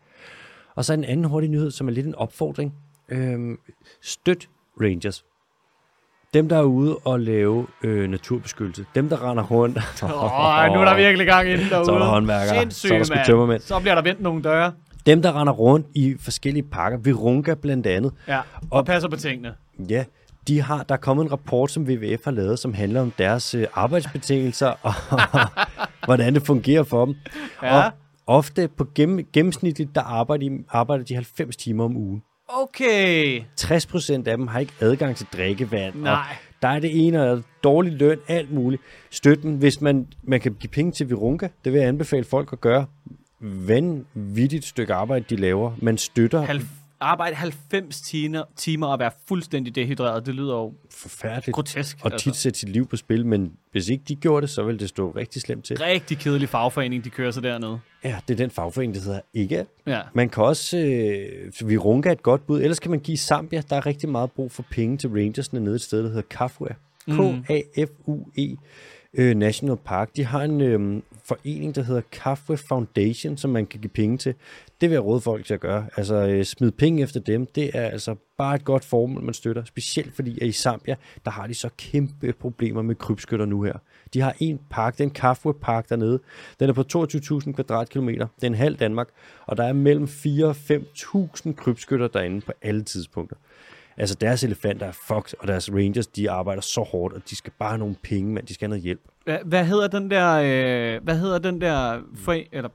Og så en anden hurtig nyhed, som er lidt en opfordring. Øhm, støt Rangers. Dem, der er ude og lave øh, naturbeskyttelse. Dem, der render rundt. Åh, Åh, oh, nu er der virkelig gang ind derude. Så er der håndværkere. Sindssygt, Så er der sgu mand. tømmermænd. Så bliver der vendt nogle døre. Dem, der render rundt i forskellige parker. Virunga blandt andet. Ja, og passer på tingene. Ja, de har, der er kommet en rapport, som WWF har lavet, som handler om deres øh, arbejdsbetingelser og hvordan det fungerer for dem. Ja. Og ofte på gennem, gennemsnitligt, der arbejder de, arbejder de 90 timer om ugen. Okay. 60 procent af dem har ikke adgang til drikkevand. Og Nej. der er det ene, og dårlig løn, alt muligt. Støtten, hvis man, man kan give penge til Virunga, det vil jeg anbefale folk at gøre. Vanvittigt stykke arbejde, de laver. Man støtter Halv- arbejde 90 timer, timer og være fuldstændig dehydreret. Det lyder jo forfærdeligt. grotesk. altså. Og tit sætte sit liv på spil, men hvis ikke de gjorde det, så ville det stå rigtig slemt til. Rigtig kedelig fagforening, de kører sig dernede. Ja, det er den fagforening, der hedder ikke. Ja. Man kan også, øh, Virunga er et godt bud, ellers kan man give Zambia, der er rigtig meget brug for penge til Rangersne nede et sted, der hedder Kafue. K-A-F-U-E øh, National Park. De har en øh, forening, der hedder Kafue Foundation, som man kan give penge til. Det vil jeg råde folk til at gøre. Altså, øh, smid penge efter dem. Det er altså bare et godt formål, man støtter. Specielt fordi, at i Zambia, der har de så kæmpe problemer med krybskytter nu her. De har en park, den Kafwe-park dernede. Den er på 22.000 kvadratkilometer. Det er en halv Danmark. Og der er mellem 4 og 5.000 krybskytter derinde på alle tidspunkter. Altså deres elefanter er fucked, og deres rangers, de arbejder så hårdt, og de skal bare have nogle penge, men de skal have noget hjælp. Hva- Hvad hedder den der, øh, hvad hedder den der, fri, eller,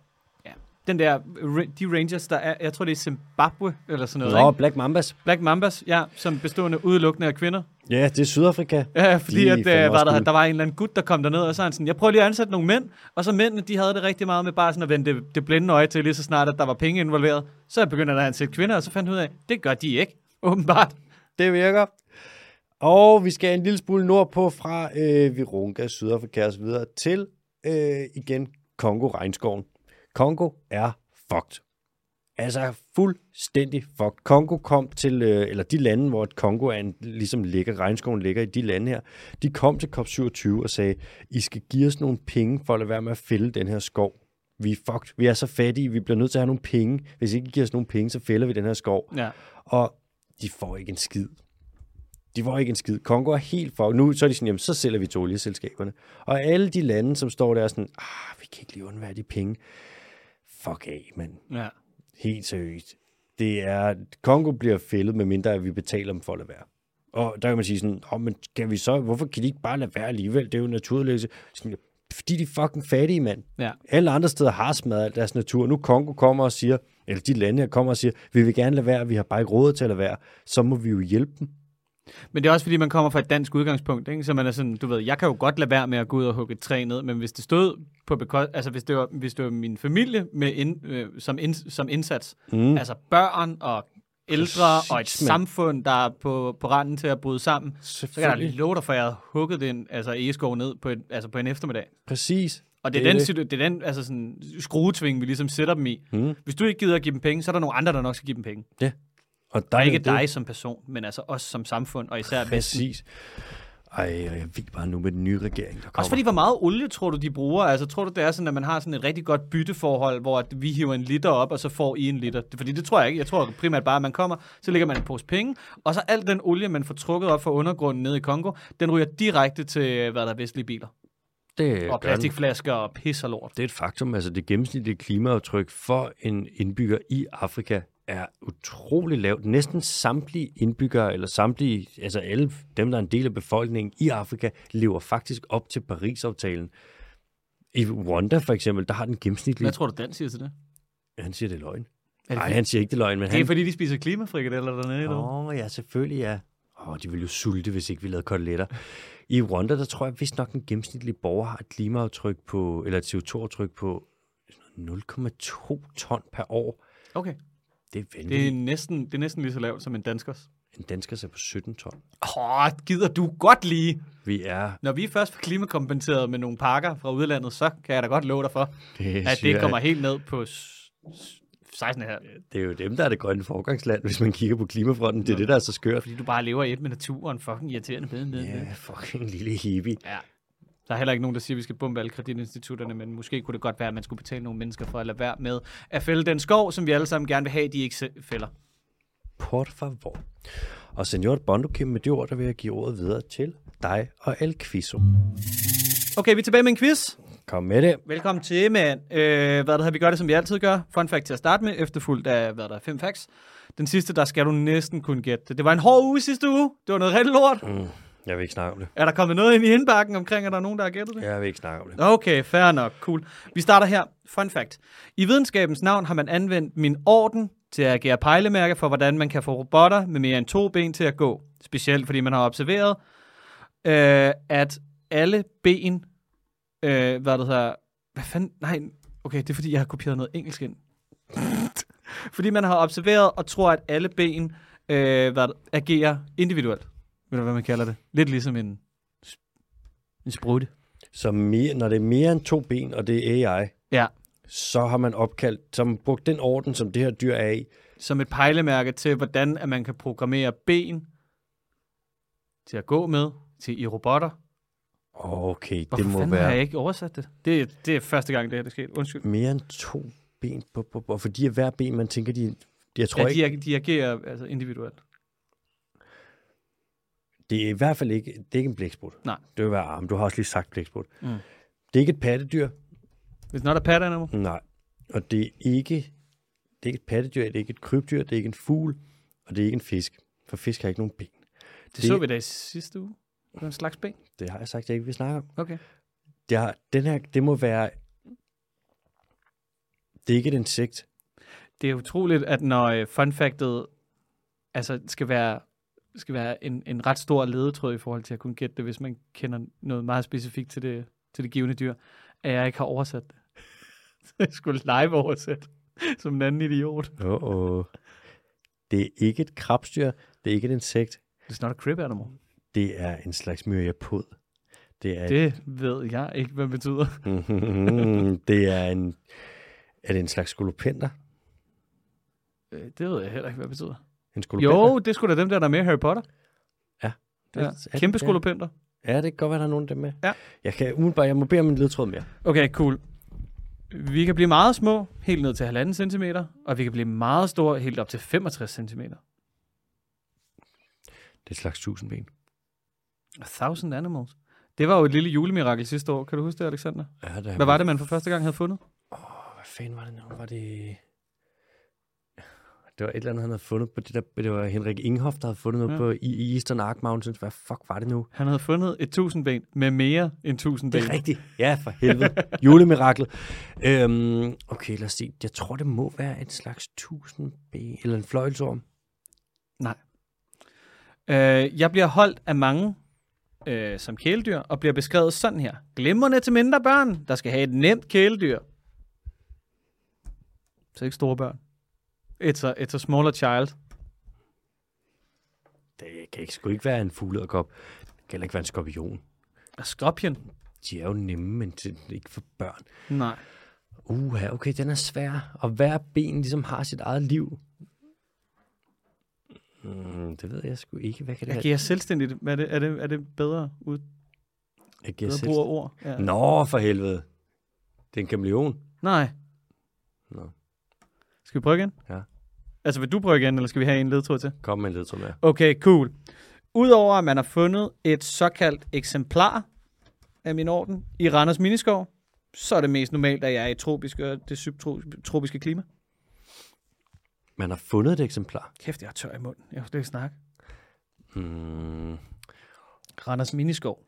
ja, den der, ra- de rangers, der er, jeg tror det er Zimbabwe, eller sådan noget, Nå, ikke? Black Mambas. Black Mambas, ja, som bestående udelukkende af kvinder. Ja, det er Sydafrika. Ja, fordi De er at, fandme øh, var også der, cool. der var en eller anden gut, der kom derned, og så er han sådan, jeg prøver lige at ansætte nogle mænd, og så mændene, de havde det rigtig meget med bare sådan at vende det, det blinde øje til, lige så snart, at der var penge involveret. Så begynder der at ansætte kvinder, og så fandt han ud af, det gør de ikke, åbenbart. Det virker. Og vi skal en lille smule nordpå fra øh, Virunga, Sydafrika og så videre til øh, igen Kongo-regnskoven. Kongo er fucked. Altså fuldstændig fucked. Kongo kom til, øh, eller de lande, hvor et Kongo er en, ligesom ligger, regnskoven ligger i de lande her, de kom til COP27 og sagde, I skal give os nogle penge for at lade være med at fælde den her skov. Vi er fucked. Vi er så fattige. Vi bliver nødt til at have nogle penge. Hvis ikke I giver os nogle penge, så fælder vi den her skov. Ja. Og de får ikke en skid. De får ikke en skid. Kongo er helt for. Nu så er de sådan, jamen så sælger vi til olieselskaberne. Og alle de lande, som står der er sådan, ah, vi kan ikke lige undvære de penge. Fuck af, mand. ja. Helt seriøst. Det er, Kongo bliver fældet, medmindre at vi betaler dem for at lade være. Og der kan man sige sådan, oh, men kan vi så, hvorfor kan de ikke bare lade være alligevel? Det er jo naturlæggelse. Sådan, fordi de er fucking fattige, mand. Ja. Alle andre steder har smadret al deres natur. Nu Kongo kommer og siger, eller de lande her kommer og siger, vi vil gerne lade være, vi har bare ikke råd til at lade være. Så må vi jo hjælpe dem. Men det er også fordi, man kommer fra et dansk udgangspunkt, ikke? så man er sådan, du ved, jeg kan jo godt lade være med at gå ud og hugge et træ ned, men hvis det stod på bekost, altså hvis det var, hvis det var min familie med ind, øh, som, ind, som indsats, mm. altså børn og ældre Præcis, og et mand. samfund, der er på, på randen til at bryde sammen, så kan jeg da Selvfølgelig. love dig for, at jeg havde hugget den altså egeskov ned på, et, altså på en eftermiddag. Præcis. Og det er, den, situ- det er den altså sådan, skruetving, vi ligesom sætter dem i. Mm. Hvis du ikke gider at give dem penge, så er der nogle andre, der nok skal give dem penge. Ja. Og der Og er ikke det. dig som person, men altså os som samfund, og især Vesten. Præcis. Ej, og jeg ved bare nu med den nye regering, der kommer. Også fordi, hvor meget olie tror du, de bruger? Altså, tror du, det er sådan, at man har sådan et rigtig godt bytteforhold, hvor at vi hiver en liter op, og så får I en liter? Det- Fordi det tror jeg ikke. Jeg tror primært bare, at man kommer, så lægger man en pose penge, og så alt den olie, man får trukket op fra undergrunden nede i Kongo, den ryger direkte til, hvad der er vestlige biler. det Og plastikflasker og pis og lort. Det er et faktum. Altså det gennemsnitlige klimaaftryk for en indbygger i Afrika er utrolig lavt. Næsten samtlige indbyggere, eller samtlige, altså alle dem, der er en del af befolkningen i Afrika, lever faktisk op til Paris-aftalen. I Rwanda for eksempel, der har den gennemsnitlige... Hvad tror du, den siger til det? Han siger, det er løgn. Er det Nej, han siger ikke, det er løgn, men Det er han... fordi, de spiser klimafrikadeller dernede. eller hvad? Åh, oh, ja, selvfølgelig, ja. Åh, oh, de ville jo sulte, hvis ikke vi lavede koteletter. I Rwanda, der tror jeg vist nok, den gennemsnitlige borger har et klimaaftryk på, eller et CO2-aftryk på 0,2 ton per år. Okay. Det er vanvittigt. Det er, Det... næsten, det er næsten lige så lavt som en danskers. En dansker ser på 17 ton. Åh, gider du godt lige? Vi er... Når vi først får klimakompenseret med nogle pakker fra udlandet, så kan jeg da godt love dig for, Det, at det kommer helt ned på s- s- 16 her. det er jo dem, der er det grønne forgangsland, hvis man kigger på klimafronten. Det er det, der er så skørt. Fordi du bare lever i et med naturen, fucking irriterende med, med, med. Ja, fucking lille hippie. Ja. Der er heller ikke nogen, der siger, at vi skal bombe alle kreditinstitutterne, men måske kunne det godt være, at man skulle betale nogle mennesker for at lade være med at fælde den skov, som vi alle sammen gerne vil have, de ikke selv fælder. Por favor. Og senor Bondo Kim, med de ord, der vil jeg give ordet videre til dig og El Quizo. Okay, vi er tilbage med en quiz. Kom med det. Velkommen til, mand. Øh, hvad der her, vi gør det, som vi altid gør. Fun fact til at starte med, efterfulgt af, hvad der er, fem facts. Den sidste, der skal du næsten kunne gætte. det. Det var en hård uge sidste uge. Det var noget rigtig lort. Mm, jeg vil ikke snakke om det. Er der kommet noget ind i indbakken omkring, at der er nogen, der har gættet det? Jeg vil ikke snakke om det. Okay, fair nok. Cool. Vi starter her. Fun fact. I videnskabens navn har man anvendt min orden til at agere pejlemærke for, hvordan man kan få robotter med mere end to ben til at gå. Specielt fordi man har observeret, øh, at alle ben... Øh, hvad det hedder... Hvad fanden? Nej, okay, det er fordi, jeg har kopieret noget engelsk ind. fordi man har observeret og tror, at alle ben øh, hvad, det- agerer individuelt. Ved du, hvad man kalder det? Lidt ligesom en, en sprutte. Så mere, når det er mere end to ben, og det er AI, Ja, så har man opkaldt, så har man brugt den orden, som det her dyr er i. som et pejlemærke til, hvordan at man kan programmere ben til at gå med til i robotter. Okay, Hvorfor det må fanden har være jeg ikke oversat det? det? er- Det er første gang, det her det er sket. Undskyld. mere end to ben. På, på, på, fordi hver ben, man tænker, de, jeg tror Ja, ja, de ikke, de, ag- de agerer altså individuelt. Det er i hvert fald ikke, det er ikke en blæksprut. Nej. Det vil være arm. Du har også lige sagt blæksprut. Mm. Det er ikke et pattedyr. It's not a pet animal. Nej. Og det er ikke, det er ikke et pattedyr, det er ikke et krybdyr, det er ikke en fugl, og det er ikke en fisk. For fisk har ikke nogen ben. Det, det så vi da i sidste uge. Det var en slags ben. Det har jeg sagt, jeg ikke vil snakke om. Okay. Det, har, den her, det må være... Det er ikke et insekt. Det er utroligt, at når øh, funfactet altså, skal være, skal være en, en ret stor ledetråd i forhold til at kunne gætte det, hvis man kender noget meget specifikt til det, til det givende dyr, at jeg ikke har oversat det. Så jeg skulle live oversætte som en anden idiot. Åh, oh, Det er ikke et krabstyr, det er ikke et insekt. It's not a crib animal. Det er en slags myriapod. Det er, det... Det ved jeg ikke, hvad det betyder. det er en... Er det en slags skolopender? Øh, Det ved jeg heller ikke, hvad det betyder. En skolopender? Jo, det skulle da dem der, der er med i Harry Potter. det, er Ja. det- Kæmpe ja. skolopenter. Ja, det kan godt være, der er nogen af dem med. Ja. Jeg kan umiddelbart, jeg må bede om en ledtråd mere. Okay, cool. Vi kan blive meget små, helt ned til 1,5 cm, og vi kan blive meget store, helt op til 65 cm. Det er et slags tusindben. A thousand animals. Det var jo et lille julemirakel sidste år. Kan du huske det, Alexander? Ja, det er- Hvad var det, man for første gang havde fundet? Åh, hvad fanden var det nu? Var det... Det var et eller andet, han havde fundet på det der... Det var Henrik Inghoff, der havde fundet noget Ja. ja. på i, i Eastern Ark Mountains. Hvad fuck var det nu? Han havde fundet et tusindben med mere end Det tusindben. er rigtigt. Ja, for helvede. Julemiraklet. Øhm, okay, lad os se. Jeg tror, det må være et slags tusindben... Eller en fløjelsorm. Øh, jeg bliver holdt af mange øh, som kæledyr, og bliver beskrevet sådan her. Glimrende til mindre børn, der skal have et nemt kæledyr. Så ikke store børn. It's a, it's a smaller child. Det kan ikke, sgu ikke være en fuglederkop. Det kan heller ikke være en skorpion. A scorpion. De er jo nemme, men det er ikke for børn. Nej. Uha, okay, den er svær. Og hver ben ligesom har sit eget liv. Mm, det ved jeg sgu ikke. Hvad kan det være? Agerer selvstændigt. Er det, er det, er det bedre ud Jeg giver Mm. bedre selv- brug af ord? Ja. Nå, for helvede. Det er en kameleon. Nej. Nå. Skal vi prøve igen? Ja. Altså, vil du prøve igen, eller skal vi have en ledtråd til? Kom med en ledtråd mere. Okay, cool. Udover at man har fundet et såkaldt eksemplar af min orden i Randers Miniskov, så er det mest normalt, at jeg er i tropiske og det subtropiske klima. Man har fundet et eksemplar. Kæft, jeg er tør i munden. Jeg kan slet ikke snakke. Mm. Randers Miniskov.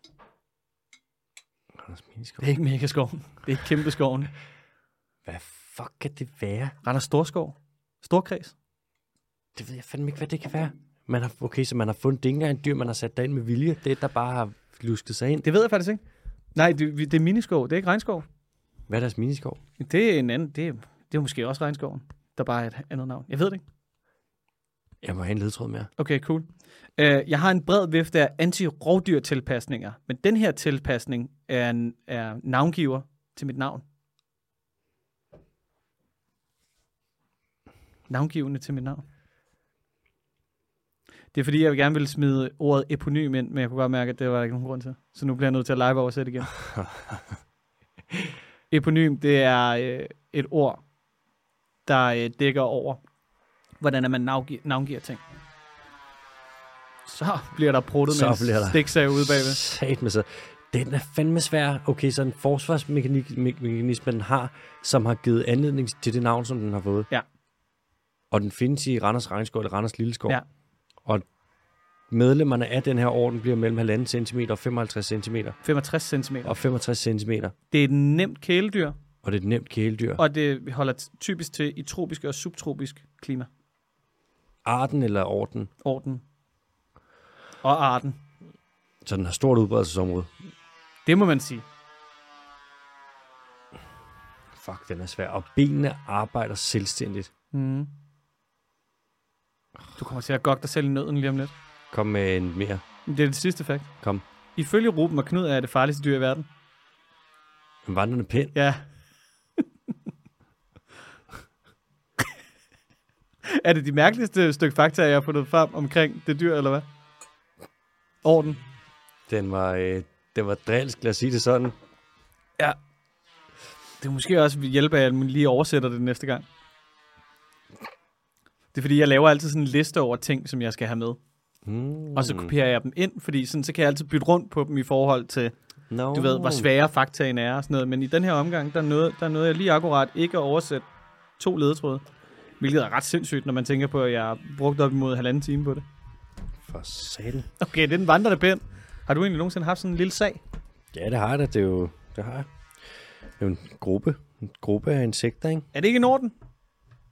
Anders Det Miniskov. er ikke megaskoven. Det er ikke kæmpe skoven. Hvad fuck kan det være? Randers Storskov. Storkreds. Det ved jeg fandme ikke, hvad det kan være. Man har, okay, så man har fundet det er ikke engang et dyr, man har sat derind med vilje. Det, er et, der bare har lusket sig ind. Det ved jeg faktisk ikke. Nej, det, det er miniskov. Det er ikke regnskov. Hvad er deres miniskov? Det er en anden. Det er, det er måske også regnskoven. Der bare er et andet navn. Jeg ved det ikke. Jeg må have en ledtråd mere. Okay, cool. Øh, jeg har en bred vifte af anti-rovdyr-tilpasninger, men den her tilpasning er, en, er navngiver til mit navn. Navngivende til mit navn. Det er fordi, jeg gerne ville smide ordet eponym ind, men jeg kunne godt mærke, at det var der ikke nogen grund til. Så nu bliver jeg nødt til at live oversætte igen. eponym, det er øh, et ord, der øh, dækker over, hvordan at man navngiver, navngiver ting. Så bliver der pruttet Så med bliver der- en stiksav ude bagved. Sat med sig. Den er fandme svær. Okay, så en forsvarsmekanisme, den har, som har givet anledning til det navn, som den har fået. Ja. Og den findes i Randers Regnskov eller Randers Lilleskov. Ja. Og medlemmerne af den her orden bliver mellem 1,5 cm og 55 cm 65 cm. og 65 cm. Det er et nemt kæledyr, Og det er et nemt kæledyr. og det holder t- typisk til i tropisk og subtropisk klima. Arten eller orden, Orden. Og arten. så den har stort udbredelsesområde. Det må man sige. Fuck, den er svær. Og benene arbejder selvstændigt. Mm. Du kommer til at gokke dig selv i nøden lige om lidt. Kom med en mere. Men Det er det sidste fakt. Kom. Ifølge Ruben og Knud er det farligste dyr i verden. En vandrende pind. Ja. er det de mærkeligste stykke fakta, jeg har fundet frem omkring det dyr, eller hvad? Orden. Den var, øh, den var drilsk, lad os sige det sådan. Ja. Det er måske også ved hjælp af, at man lige oversætter det næste gang. Det er fordi, jeg laver altid sådan en liste over ting, som jeg skal have med. Mm. Og så kopierer jeg dem ind, fordi sådan, så kan jeg altid bytte rundt på dem i forhold til, no. du ved, Oh. hvor svære faktaen er og sådan noget. Men i den her omgang, der nåede, der nåede jeg lige akkurat ikke at oversætte to ledetråde. Hvilket er ret sindssygt, når man tænker på, at jeg brugte op imod halvanden time på det. For satan. Okay, det er den vandrende pen. Har du egentlig nogensinde haft sådan en lille sag? Ja, det har jeg da. Det er jo, det har jeg. Det er jo en gruppe. En gruppe af insekter, ikke? Er det ikke en orden?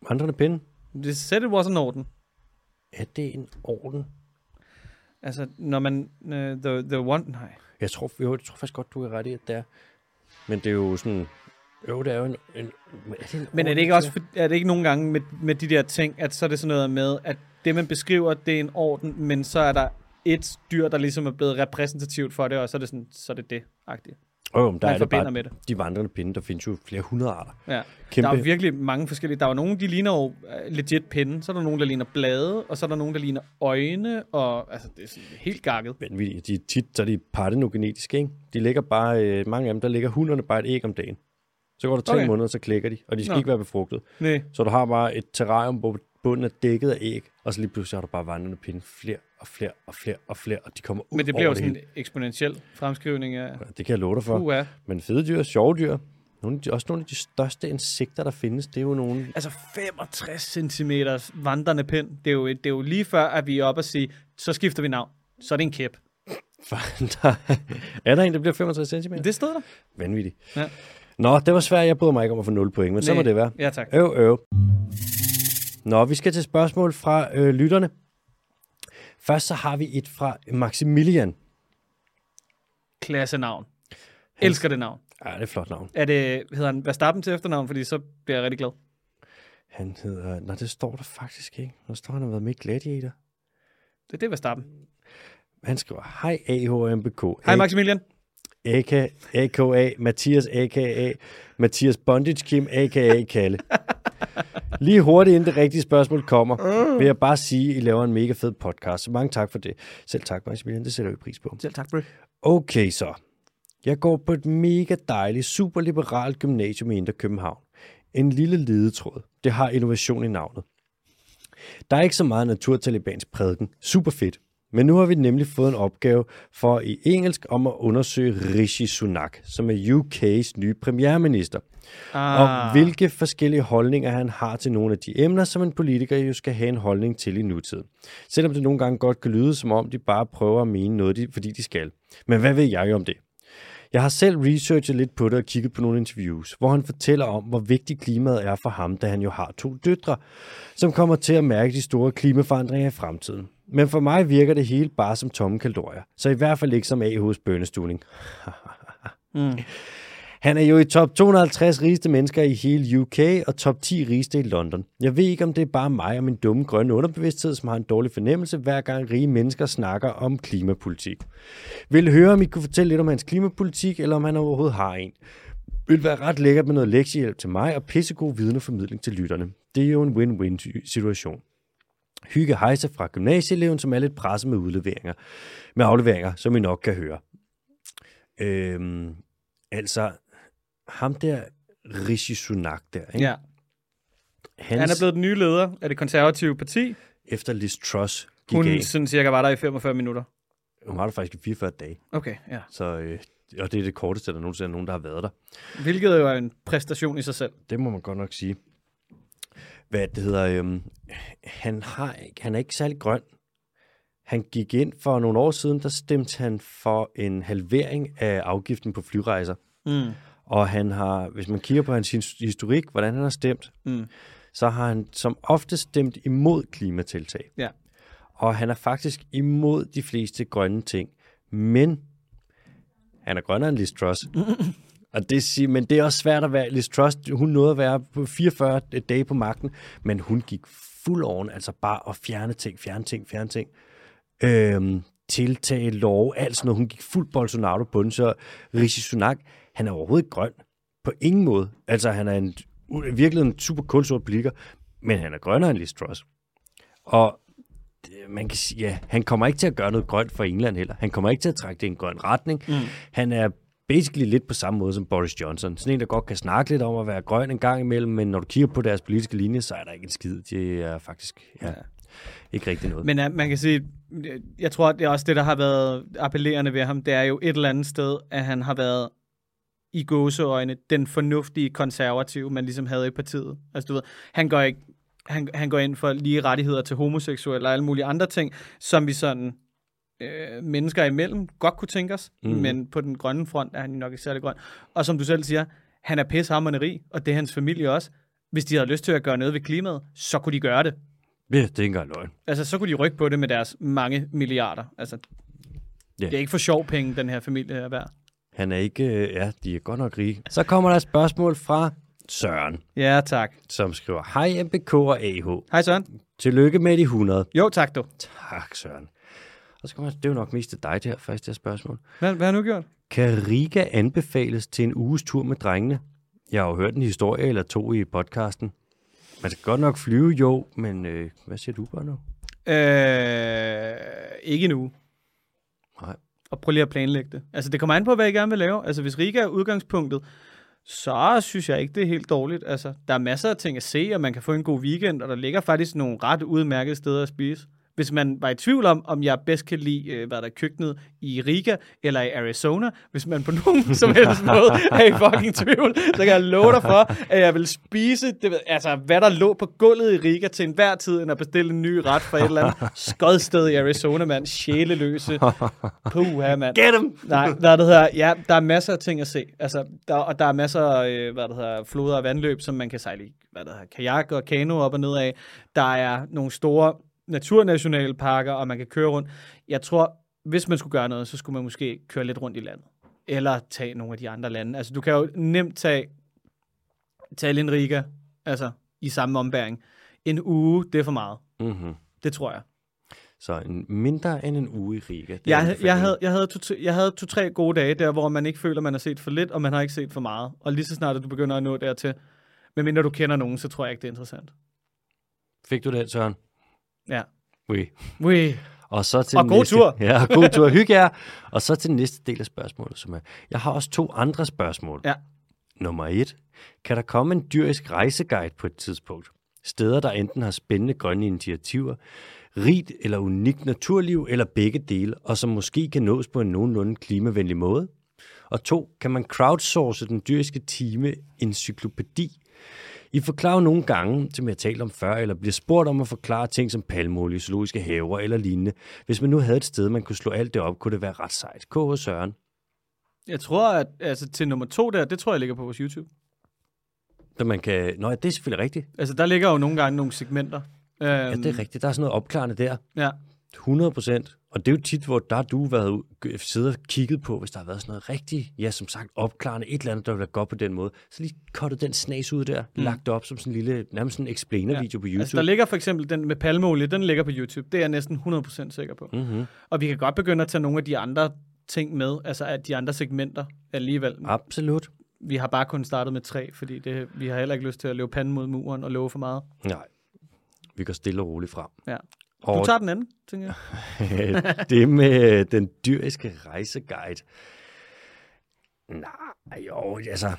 Vandrende pinde. Det said it was an orden. Er det en orden? Altså, når man... Uh, the, the one... Nej. Jeg tror, jo, jeg tror faktisk godt, du er ret i, at det er. Men det er jo sådan... Jo, det er jo en... en er det en Men er det ikke også for, er det ikke nogle gange med, med de der ting, at så er det sådan noget med, at det, man beskriver, det er en orden, men så er der et dyr, der ligesom er blevet repræsentativt for det, og så er det sådan, så er det det, agtigt. Jo, oh, der man er det forbinder bare med det. de vandrende pinde. Der findes jo flere hundrede arter. Ja. Kæmpe. Der er virkelig mange forskellige. Der er jo nogen, de ligner jo øh, legit pinde, så er der nogen, der ligner blade, og så er der nogen, der ligner øjne, og altså, det er sådan helt gakket. Men vi, de er tit så er de partenogenetiske, ikke? De ligger bare... Øh, mange af dem, der ligger hunderne bare et æg om dagen. Så går der tre Okay. okay. måneder, så klækker de. Og de skal Nå. Nå. ikke være befrugtet. Nej. Så du har bare et terrarium, hvor bunden er dækket af æg, og så lige pludselig har du bare vandrende pinde flere og flere og flere og flere, og de kommer ud Men det over bliver jo sådan hele. en eksponentiel fremskrivning af... Det kan jeg love dig for. Uha. Men fede dyr, sjove dyr, nogle af de, også nogle af de største insekter, der findes, det er jo nogle... Altså 65 cm vandrende pind, det er, jo, det er jo lige før, at vi er oppe og sige, så skifter vi navn. Så er det en kæp. Fan, der, er der en, der bliver 65 cm? Det stod der. Vanvittigt. Ja. Nå, det var svært. Jeg bryder mig ikke om at få 0 point, men så må Næ. det være. Øh. Ja, tak. Øv, øv. Nå, vi skal til spørgsmål fra øh, lytterne. Først så har vi et fra Maximilian. Klasse navn. Elsker det navn. Ja, det er et flot navn. Er det, hedder han Verstappen til efternavn, fordi så bliver jeg rigtig glad. Han hedder... Nej, det står der faktisk ikke. Der står, han har været med i Gladiator. Det, det er Verstappen. Han skriver, hej AHMBK. Hej Maximilian. AK, AKA, Mathias, AKA, Mathias Bondage Kim, AKA Kalle. Lige hurtigt, inden det rigtige spørgsmål Mm. kommer, vil jeg bare sige, at I laver en mega fed podcast. Så mange tak for det. Selv tak, Maximilian. Det sætter vi pris på. Selv tak, bro. Okay så. Jeg går på et mega dejligt, superliberalt gymnasium i Indre København. En lille ledetråd. Det har innovation i navnet. Der er ikke så meget naturtalibans prædiken. Super fedt. Men nu har vi nemlig fået en opgave for i engelsk om at undersøge Rishi Sunak, som er UK's nye premierminister, Ah, og hvilke forskellige holdninger han har til nogle af de emner, som en politiker jo skal have en holdning til i nutiden. Selvom det nogle gange godt kan lyde, som om de bare prøver at mene noget, de, fordi de skal. Men hvad ved jeg om det? Jeg har selv researchet lidt på det og kigget på nogle interviews, hvor han fortæller om, hvor vigtigt klimaet er for ham, da han jo har to døtre, som kommer til at mærke de store klimaforandringer i fremtiden. Men for mig virker det hele bare som tomme kalorier, så i hvert fald ikke som AH's bønnestuning. Han er jo i top 250 rigeste mennesker i hele UK og top 10 rigeste i London. Jeg ved ikke, om det er bare mig og min dumme grønne underbevidsthed, som har en dårlig fornemmelse, hver gang rige mennesker snakker om klimapolitik. Vil høre, om I kunne fortælle lidt om hans klimapolitik, eller om han overhovedet har en. Vil være ret lækkert med noget lektiehjælp til mig og pissegod viden og formidling til lytterne. Det er jo en win-win situation. Hygge hejse fra gymnasieeleven, som er lidt presset med udleveringer. Med afleveringer, som I nok kan høre. Øhm, altså, ham der Rishi Sunak der, ikke? ja. Han er blevet den nye leder af det konservative parti. efter Liz Truss gik Hun... Hun af. sådan cirka var der i 45 minutter. Hun har det faktisk i 44 dage, Okay, ja. så, øh, og det er det korteste, der nogensinde er nogen, der har været der. Hvilket jo er en præstation i sig selv. Det må man godt nok sige. Hvad det hedder, øhm, han, har, ikke- han er ikke særlig grøn. Han gik ind for nogle år siden, der stemte han for en halvering af afgiften på flyrejser. Mm. Og han har, hvis man kigger på hans his- historik, hvordan han har stemt, Mm. så har han som ofte stemt imod klimatiltag. Ja. Og han er faktisk imod de fleste grønne ting. Men han er grønnere end Liz Truss. Og det siger, men det er også svært at være. Liz Truss, hun nåede at være på 44 dage på magten, men hun gik fuld oven, altså bare at fjerne ting, fjerne ting, fjerne ting. Øhm, tiltag, lov, alt sådan noget. Hun gik fuld Bolsonaro på den, så Rishi Sunak, han er overhovedet ikke grøn. På ingen måde. Altså, han er en, u- virkelig en super kulsort politiker, men han er grønnere end Liz Truss. Og det- man kan sige, ja, han kommer ikke til at gøre noget grønt for England heller. Han kommer ikke til at trække det i en grøn retning. Mm. Han er basically lidt på samme måde som Boris Johnson. Sådan en, der godt kan snakke lidt om at være grøn en gang imellem, men når du kigger på deres politiske linje, så er der ikke en skid. Det er faktisk... Ja. ikke rigtig noget. Men ja, man kan sige, jeg tror, det er også det, der har været appellerende ved ham. Det er jo et eller andet sted, at han har været i gåseøjne den fornuftige konservative, man ligesom havde i partiet. Altså du ved, han går ikke han, han går ind for lige rettigheder til homoseksuelle og alle mulige andre ting, som vi sådan øh, mennesker imellem godt kunne tænke os, mm. men på den grønne front er han jo nok ikke særlig grøn. Og som du selv siger, han er pissehammerende rig, og det er hans familie også. Hvis de havde lyst til at gøre noget ved klimaet, så kunne de gøre det. Ja, det er ikke engang løgn. Altså, så kunne de rykke på det med deres mange milliarder. Altså, Ja. yeah. det er ikke for sjov penge, den her familie er værd. Han er ikke, øh, ja, de er godt nok rige. Så kommer der et spørgsmål fra Søren, Ja, tak. som skriver, Hej MBK og AH. Hej Søren. Tillykke med de 100. Jo, tak du. Tak, Søren. Og så kommer der- det er jo nok mest til dig, det her første her spørgsmål. Hvad, hvad har du gjort? Kan Riga anbefales til en uges tur med drengene? Jeg har jo hørt en historie eller to i podcasten. Man skal godt nok flyve, jo, men øh, hvad siger du bare nu? Øh, ikke endnu. Nej. Og prøv lige at planlægge det. Altså, det kommer an på, hvad I gerne vil lave. Altså, hvis Riga er udgangspunktet, så synes jeg ikke, det er helt dårligt. Altså, der er masser af ting at se, og man kan få en god weekend, og der ligger faktisk nogle ret udmærkede steder at spise. Hvis man var i tvivl om, om jeg bedst kan lide, øh, hvad der er i køkkenet i Riga eller i Arizona, hvis man på nogen som helst måde er i fucking tvivl, så kan jeg love dig for, at jeg vil spise, det, ved- altså hvad der lå på gulvet i Riga til enhver tid, end at bestille en ny ret fra et eller andet skodsted i Arizona, mand. Sjæleløse. Puha, mand. Get him! Nej, hvad det hedder, ja, der er masser af ting at se. Altså, der, og der er masser af, øh, hvad det hedder, floder og vandløb, som man kan sejle i, hvad det hedder, kajak og kano op og ned af. Der er nogle store naturnationalparker, og man kan køre rundt. Jeg tror, hvis man skulle gøre noget, så skulle man måske køre lidt rundt i landet. Eller tage nogle af de andre lande. Altså, du kan jo nemt tage Tallinn Riga, altså i samme ombæring. En uge, det er for meget. Mm-hmm. Det tror jeg. Så en, mindre end en uge i Riga. det er Jeg, anbefalingen. jeg, havde, jeg, havde to, jeg havde to-tre gode dage der, hvor man ikke føler, man har set for lidt, og man har ikke set for meget. Og lige så snart, at du begynder at nå dertil, medmindre du kender nogen, så tror jeg ikke, det er interessant. Fik du det, Søren? Ja. Oui. Ui. Og, så til Og den god næste, tur. Ja, og god tur. Hygge jer. Og så til den næste del af spørgsmålet, som er, jeg har også to andre spørgsmål. Ja. Nummer et. Kan der komme en dyrisk rejseguide på et tidspunkt? Steder, der enten har spændende grønne initiativer, rigt eller unikt naturliv, eller begge dele, og som måske kan nås på en nogenlunde klimavenlig måde? Og to, kan man crowdsource den dyriske time encyklopædi, i forklarer jo nogle gange, som jeg har talt om før, eller bliver spurgt om at forklare ting som palmolie, zoologiske haver eller lignende. Hvis man nu havde et sted, man kunne slå alt det op, kunne det være ret sejt. K.H. Søren. Jeg tror, at altså, til nummer to der, det tror jeg ligger på vores YouTube. Så man kan... Nå, ja, det er selvfølgelig rigtigt. Altså, der ligger jo nogle gange nogle segmenter. Øhm, Ja, det er rigtigt. Der er sådan noget opklarende der. Ja. 100 procent. Og det er jo tit, hvor der har du været ud- siddet og kigget på, hvis der har været sådan noget rigtigt, ja, som sagt, opklarende, et eller andet, der vil være godt på den måde. Så lige kottet den snas ud der, mm. lagt det op som sådan en lille, nærmest sådan en explainer-video ja. på YouTube. Altså, der ligger for eksempel den med palmeolie, den ligger på YouTube. Det er jeg næsten 100% sikker på. Mm-hmm. Og vi kan godt begynde at tage nogle af de andre ting med, altså af de andre segmenter alligevel. Absolut. Vi har bare kun startet med tre, fordi det, vi har heller ikke lyst til at løbe panden mod muren og love for meget. Nej. Vi går stille og roligt frem. Ja. Du Og tager den anden, tænker jeg. Øh, det med den dyriske rejseguide. Nej, jo, altså,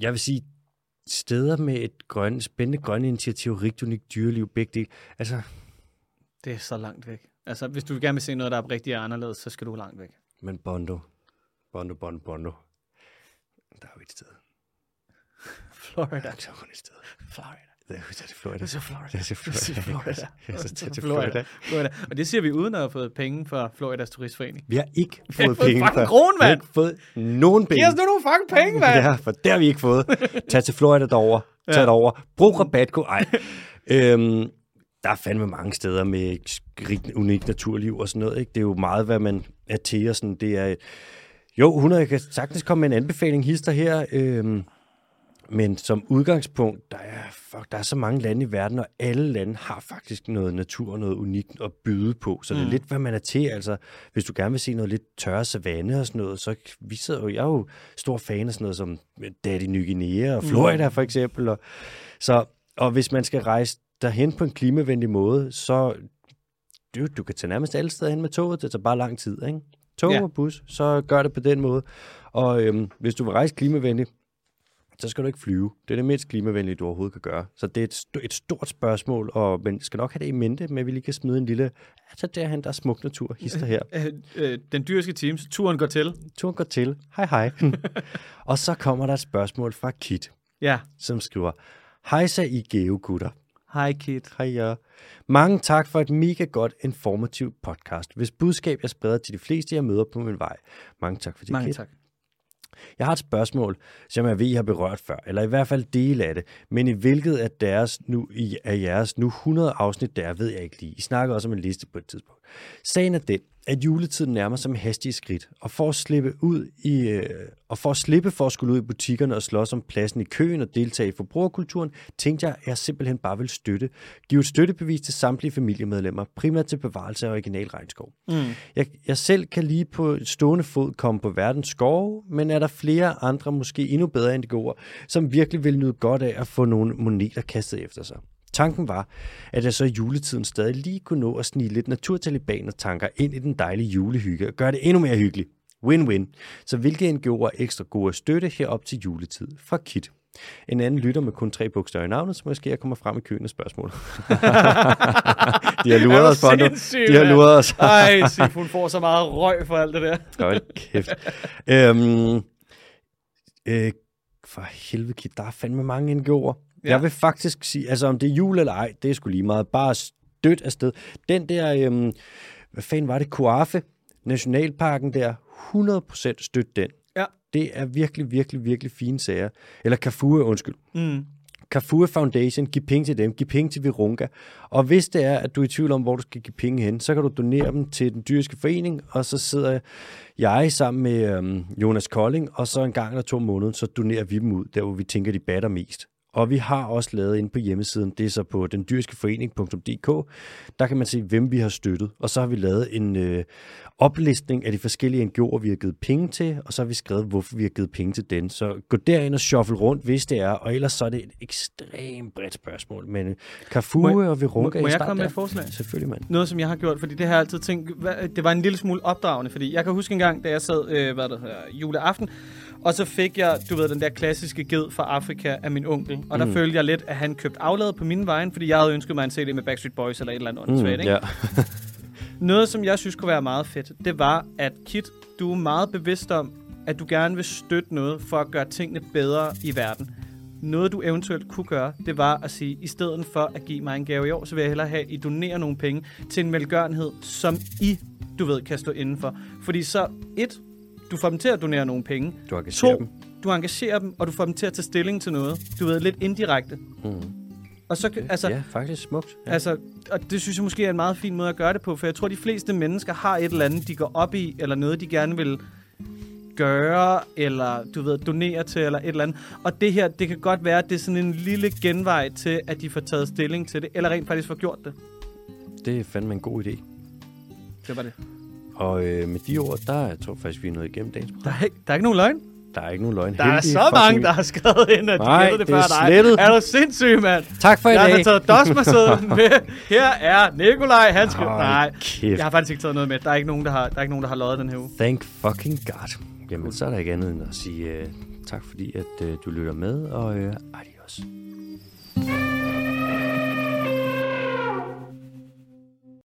jeg vil sige, steder med et grøn, spændende grønne initiativ, rigt unikt dyreliv, begge dele. Altså, Det er så langt væk. Altså, hvis du gerne vil se noget, der er rigtig anderledes, så skal du langt væk. men Bondo, Bondo, Bondo, Bondo. Der er jo et sted. Florida. Der er kun et sted. Florida. Det er jo til Florida. Det er så Florida. er til Florida. Det er så tæt til Florida. Florida. Og det siger vi uden at have fået penge fra Floridas turistforening. Vi har ikke har fået fået penge fucking før. krone, Vi har mand. ikke fået nogen penge. Giv os nu nogle fucking penge, mand! Ja, for det har vi ikke fået. Tag til Florida derover. Tag ja. derover. Brug rabatkode. Ej. øhm, der er fandme mange steder med rigt, unikt naturliv og sådan noget. Ikke? Det er jo meget, hvad man er til og sådan. Det er, jo, 100 kan sagtens komme med en anbefaling hister her. Øhm, men som udgangspunkt, der er, fuck, der er så mange lande i verden, og alle lande har faktisk noget natur og noget unikt at byde på. Så mm. det er lidt, hvad man er til. Altså, hvis du gerne vil se noget lidt tørre savanne og sådan noget, så vi sidder jo, jeg er jo stor fan af sådan noget som Daddy Ny Guinea og Florida for eksempel. Og, så, og hvis man skal rejse derhen på en klimavenlig måde, så du, du kan tage nærmest alle steder hen med toget. Det tager bare lang tid, ikke? Tog Ja. og bus, så gør det på den måde. Og øhm, hvis du vil rejse klimavenligt, så skal du ikke flyve. Det er det mindst klimavenlige, du overhovedet kan gøre. Så det er et, st- et stort spørgsmål, og man skal nok have det i mente, men vi lige kan smide en lille, "Ja, så derhen, der er smuk natur, hister her. Øh, øh, den dyriske Teams, turen går til. Turen går til. Hej hej. og så kommer der et spørgsmål fra Kit, Ja. som skriver, Hejsa I geogutter. Hej, Kit. Hej jer. Mange tak for et mega godt, informativt podcast. Hvis budskab jeg spreder til de fleste, jeg møder på min vej. Mange tak for det, Mange Kit. tak. Jeg har et spørgsmål, som jeg ved, I har berørt før, eller i hvert fald dele af det, men i hvilket af, deres nu, i- af jeres nu 100 afsnit, der er, ved jeg ikke lige. I snakker også om en liste på et tidspunkt. Sagen er den, at juletiden nærmer sig med hastige skridt, og for at slippe ud i, øh, og for at slippe for at skulle ud i butikkerne og slås om pladsen i køen og deltage i forbrugerkulturen, tænkte jeg, at jeg simpelthen bare vil støtte. Give et støttebevis til samtlige familiemedlemmer, primært til bevarelse af original regnskov. Mm. Jeg, jeg selv kan lige på stående fod komme på verdens skove, men er der flere andre, måske endnu bedre NGO'er, som virkelig vil nyde godt af at få nogle moneter kastet efter sig. Tanken var, at jeg så i juletiden stadig lige kunne nå at snige lidt naturtalibaner tanker ind i den dejlige julehygge og gøre det endnu mere hyggeligt. Win-win. Så hvilke NGO'er er ekstra gode at støtte herop til juletid? Fra Kit. En anden lytter med kun tre bogstaver i navnet, så måske jeg kommer frem i køen af spørgsmål. de har Er luret du os, Bondo. sindssyg, De har mand? luret os. Ej, Sif, hun får så meget røg for alt det der. Hold kæft. øhm, øh, for helvede, Kit, der er fandme mange NGO'er. Ja. Ja. Jeg vil faktisk sige, altså om det er jul eller ej, det er sgu lige meget. Bare støt afsted. Den der, øhm, hvad fanden var det, Kuafe, Nationalparken der, 100% støt den. Ja. Det er virkelig, virkelig, virkelig fine sager. Eller Kafue, undskyld. Mm. Carrefour Foundation, giv penge til dem, giv penge til Virunga. Og hvis det er, at du er i tvivl om, hvor du skal give penge hen, så kan du donere dem til den dyriske forening, og så sidder jeg sammen med øhm, Jonas Kolding, og så en gang eller to måneder, så donerer vi dem ud, der hvor vi tænker, de batter mest. Og vi har også lavet inde på hjemmesiden, det er så på dendyriskeforening.dk, der kan man se, hvem vi har støttet. Og så har vi lavet en øh, oplistning af de forskellige NGO'er, vi har givet penge til, og så har vi skrevet, hvorfor vi har givet penge til den. Så gå derind og shuffle rundt, hvis det er, og ellers så er det et ekstremt bredt spørgsmål. Men øh, Carrefour Må og Virunga må- må i jeg start komme med der. et forslag? Selvfølgelig, mand. noget, som jeg har gjort, fordi det har jeg altid tænkt, hvad- det var en lille smule opdragende, fordi jeg kan huske en gang, da jeg sad, øh, hvad det hedder, juleaften, og så fik jeg, du ved, den der klassiske ged fra Afrika af min onkel, og der mm. følte jeg lidt, at han købte afladet på min vejen, fordi jeg havde ønsket mig en CD med Backstreet Boys eller et eller andet mm, ikke? ja. Noget, som jeg synes kunne være meget fedt, det var, at Kit, du er meget bevidst om, at du gerne vil støtte noget for at gøre tingene bedre i verden. Noget, du eventuelt kunne gøre, det var at sige, i stedet for at give mig en gave i år, så vil jeg hellere have, at I donerer nogle penge til en velgørenhed, som I, du ved, kan stå indenfor. Fordi så, et, du får dem til at donere nogle penge. Du engagerer To, dem. du engagerer dem, og du får dem til at tage stilling til noget. Du ved, lidt indirekte. Mm. Og så, okay. altså, Øh, ja, faktisk smukt. Ja. Altså, og det synes jeg måske er en meget fin måde at gøre det på, for jeg tror, de fleste mennesker har et eller andet, de går op i, eller noget, de gerne vil gøre, eller du ved, donere til, eller et eller andet. Og det her, det kan godt være, at det er sådan en lille genvej til, at de får taget stilling til det, eller rent faktisk får gjort det. Altså- Det er fandme en god idé. Det var det. Og øh, med de ord, der tror jeg faktisk, vi er nået igennem dagens program. Der er, ikke- der er ikke nogen løgn. Der er ikke nogen løgn. Der er så mange, der har skrevet ind, at de Nej, kender det det er før dig. slettet. Er du sindssyg, mand? Tak for i Jeg har da dag. taget dosmersedlen med. Her er Nikolaj, han skal... Hold Nej, kæft. jeg har faktisk ikke taget noget med. Der er ikke nogen, der har, der er ikke nogen, der har løjet den her uge. Thank fucking God. Jamen, så er der ikke andet end at sige øh, tak, fordi at øh, du lytter med, og øh, adios.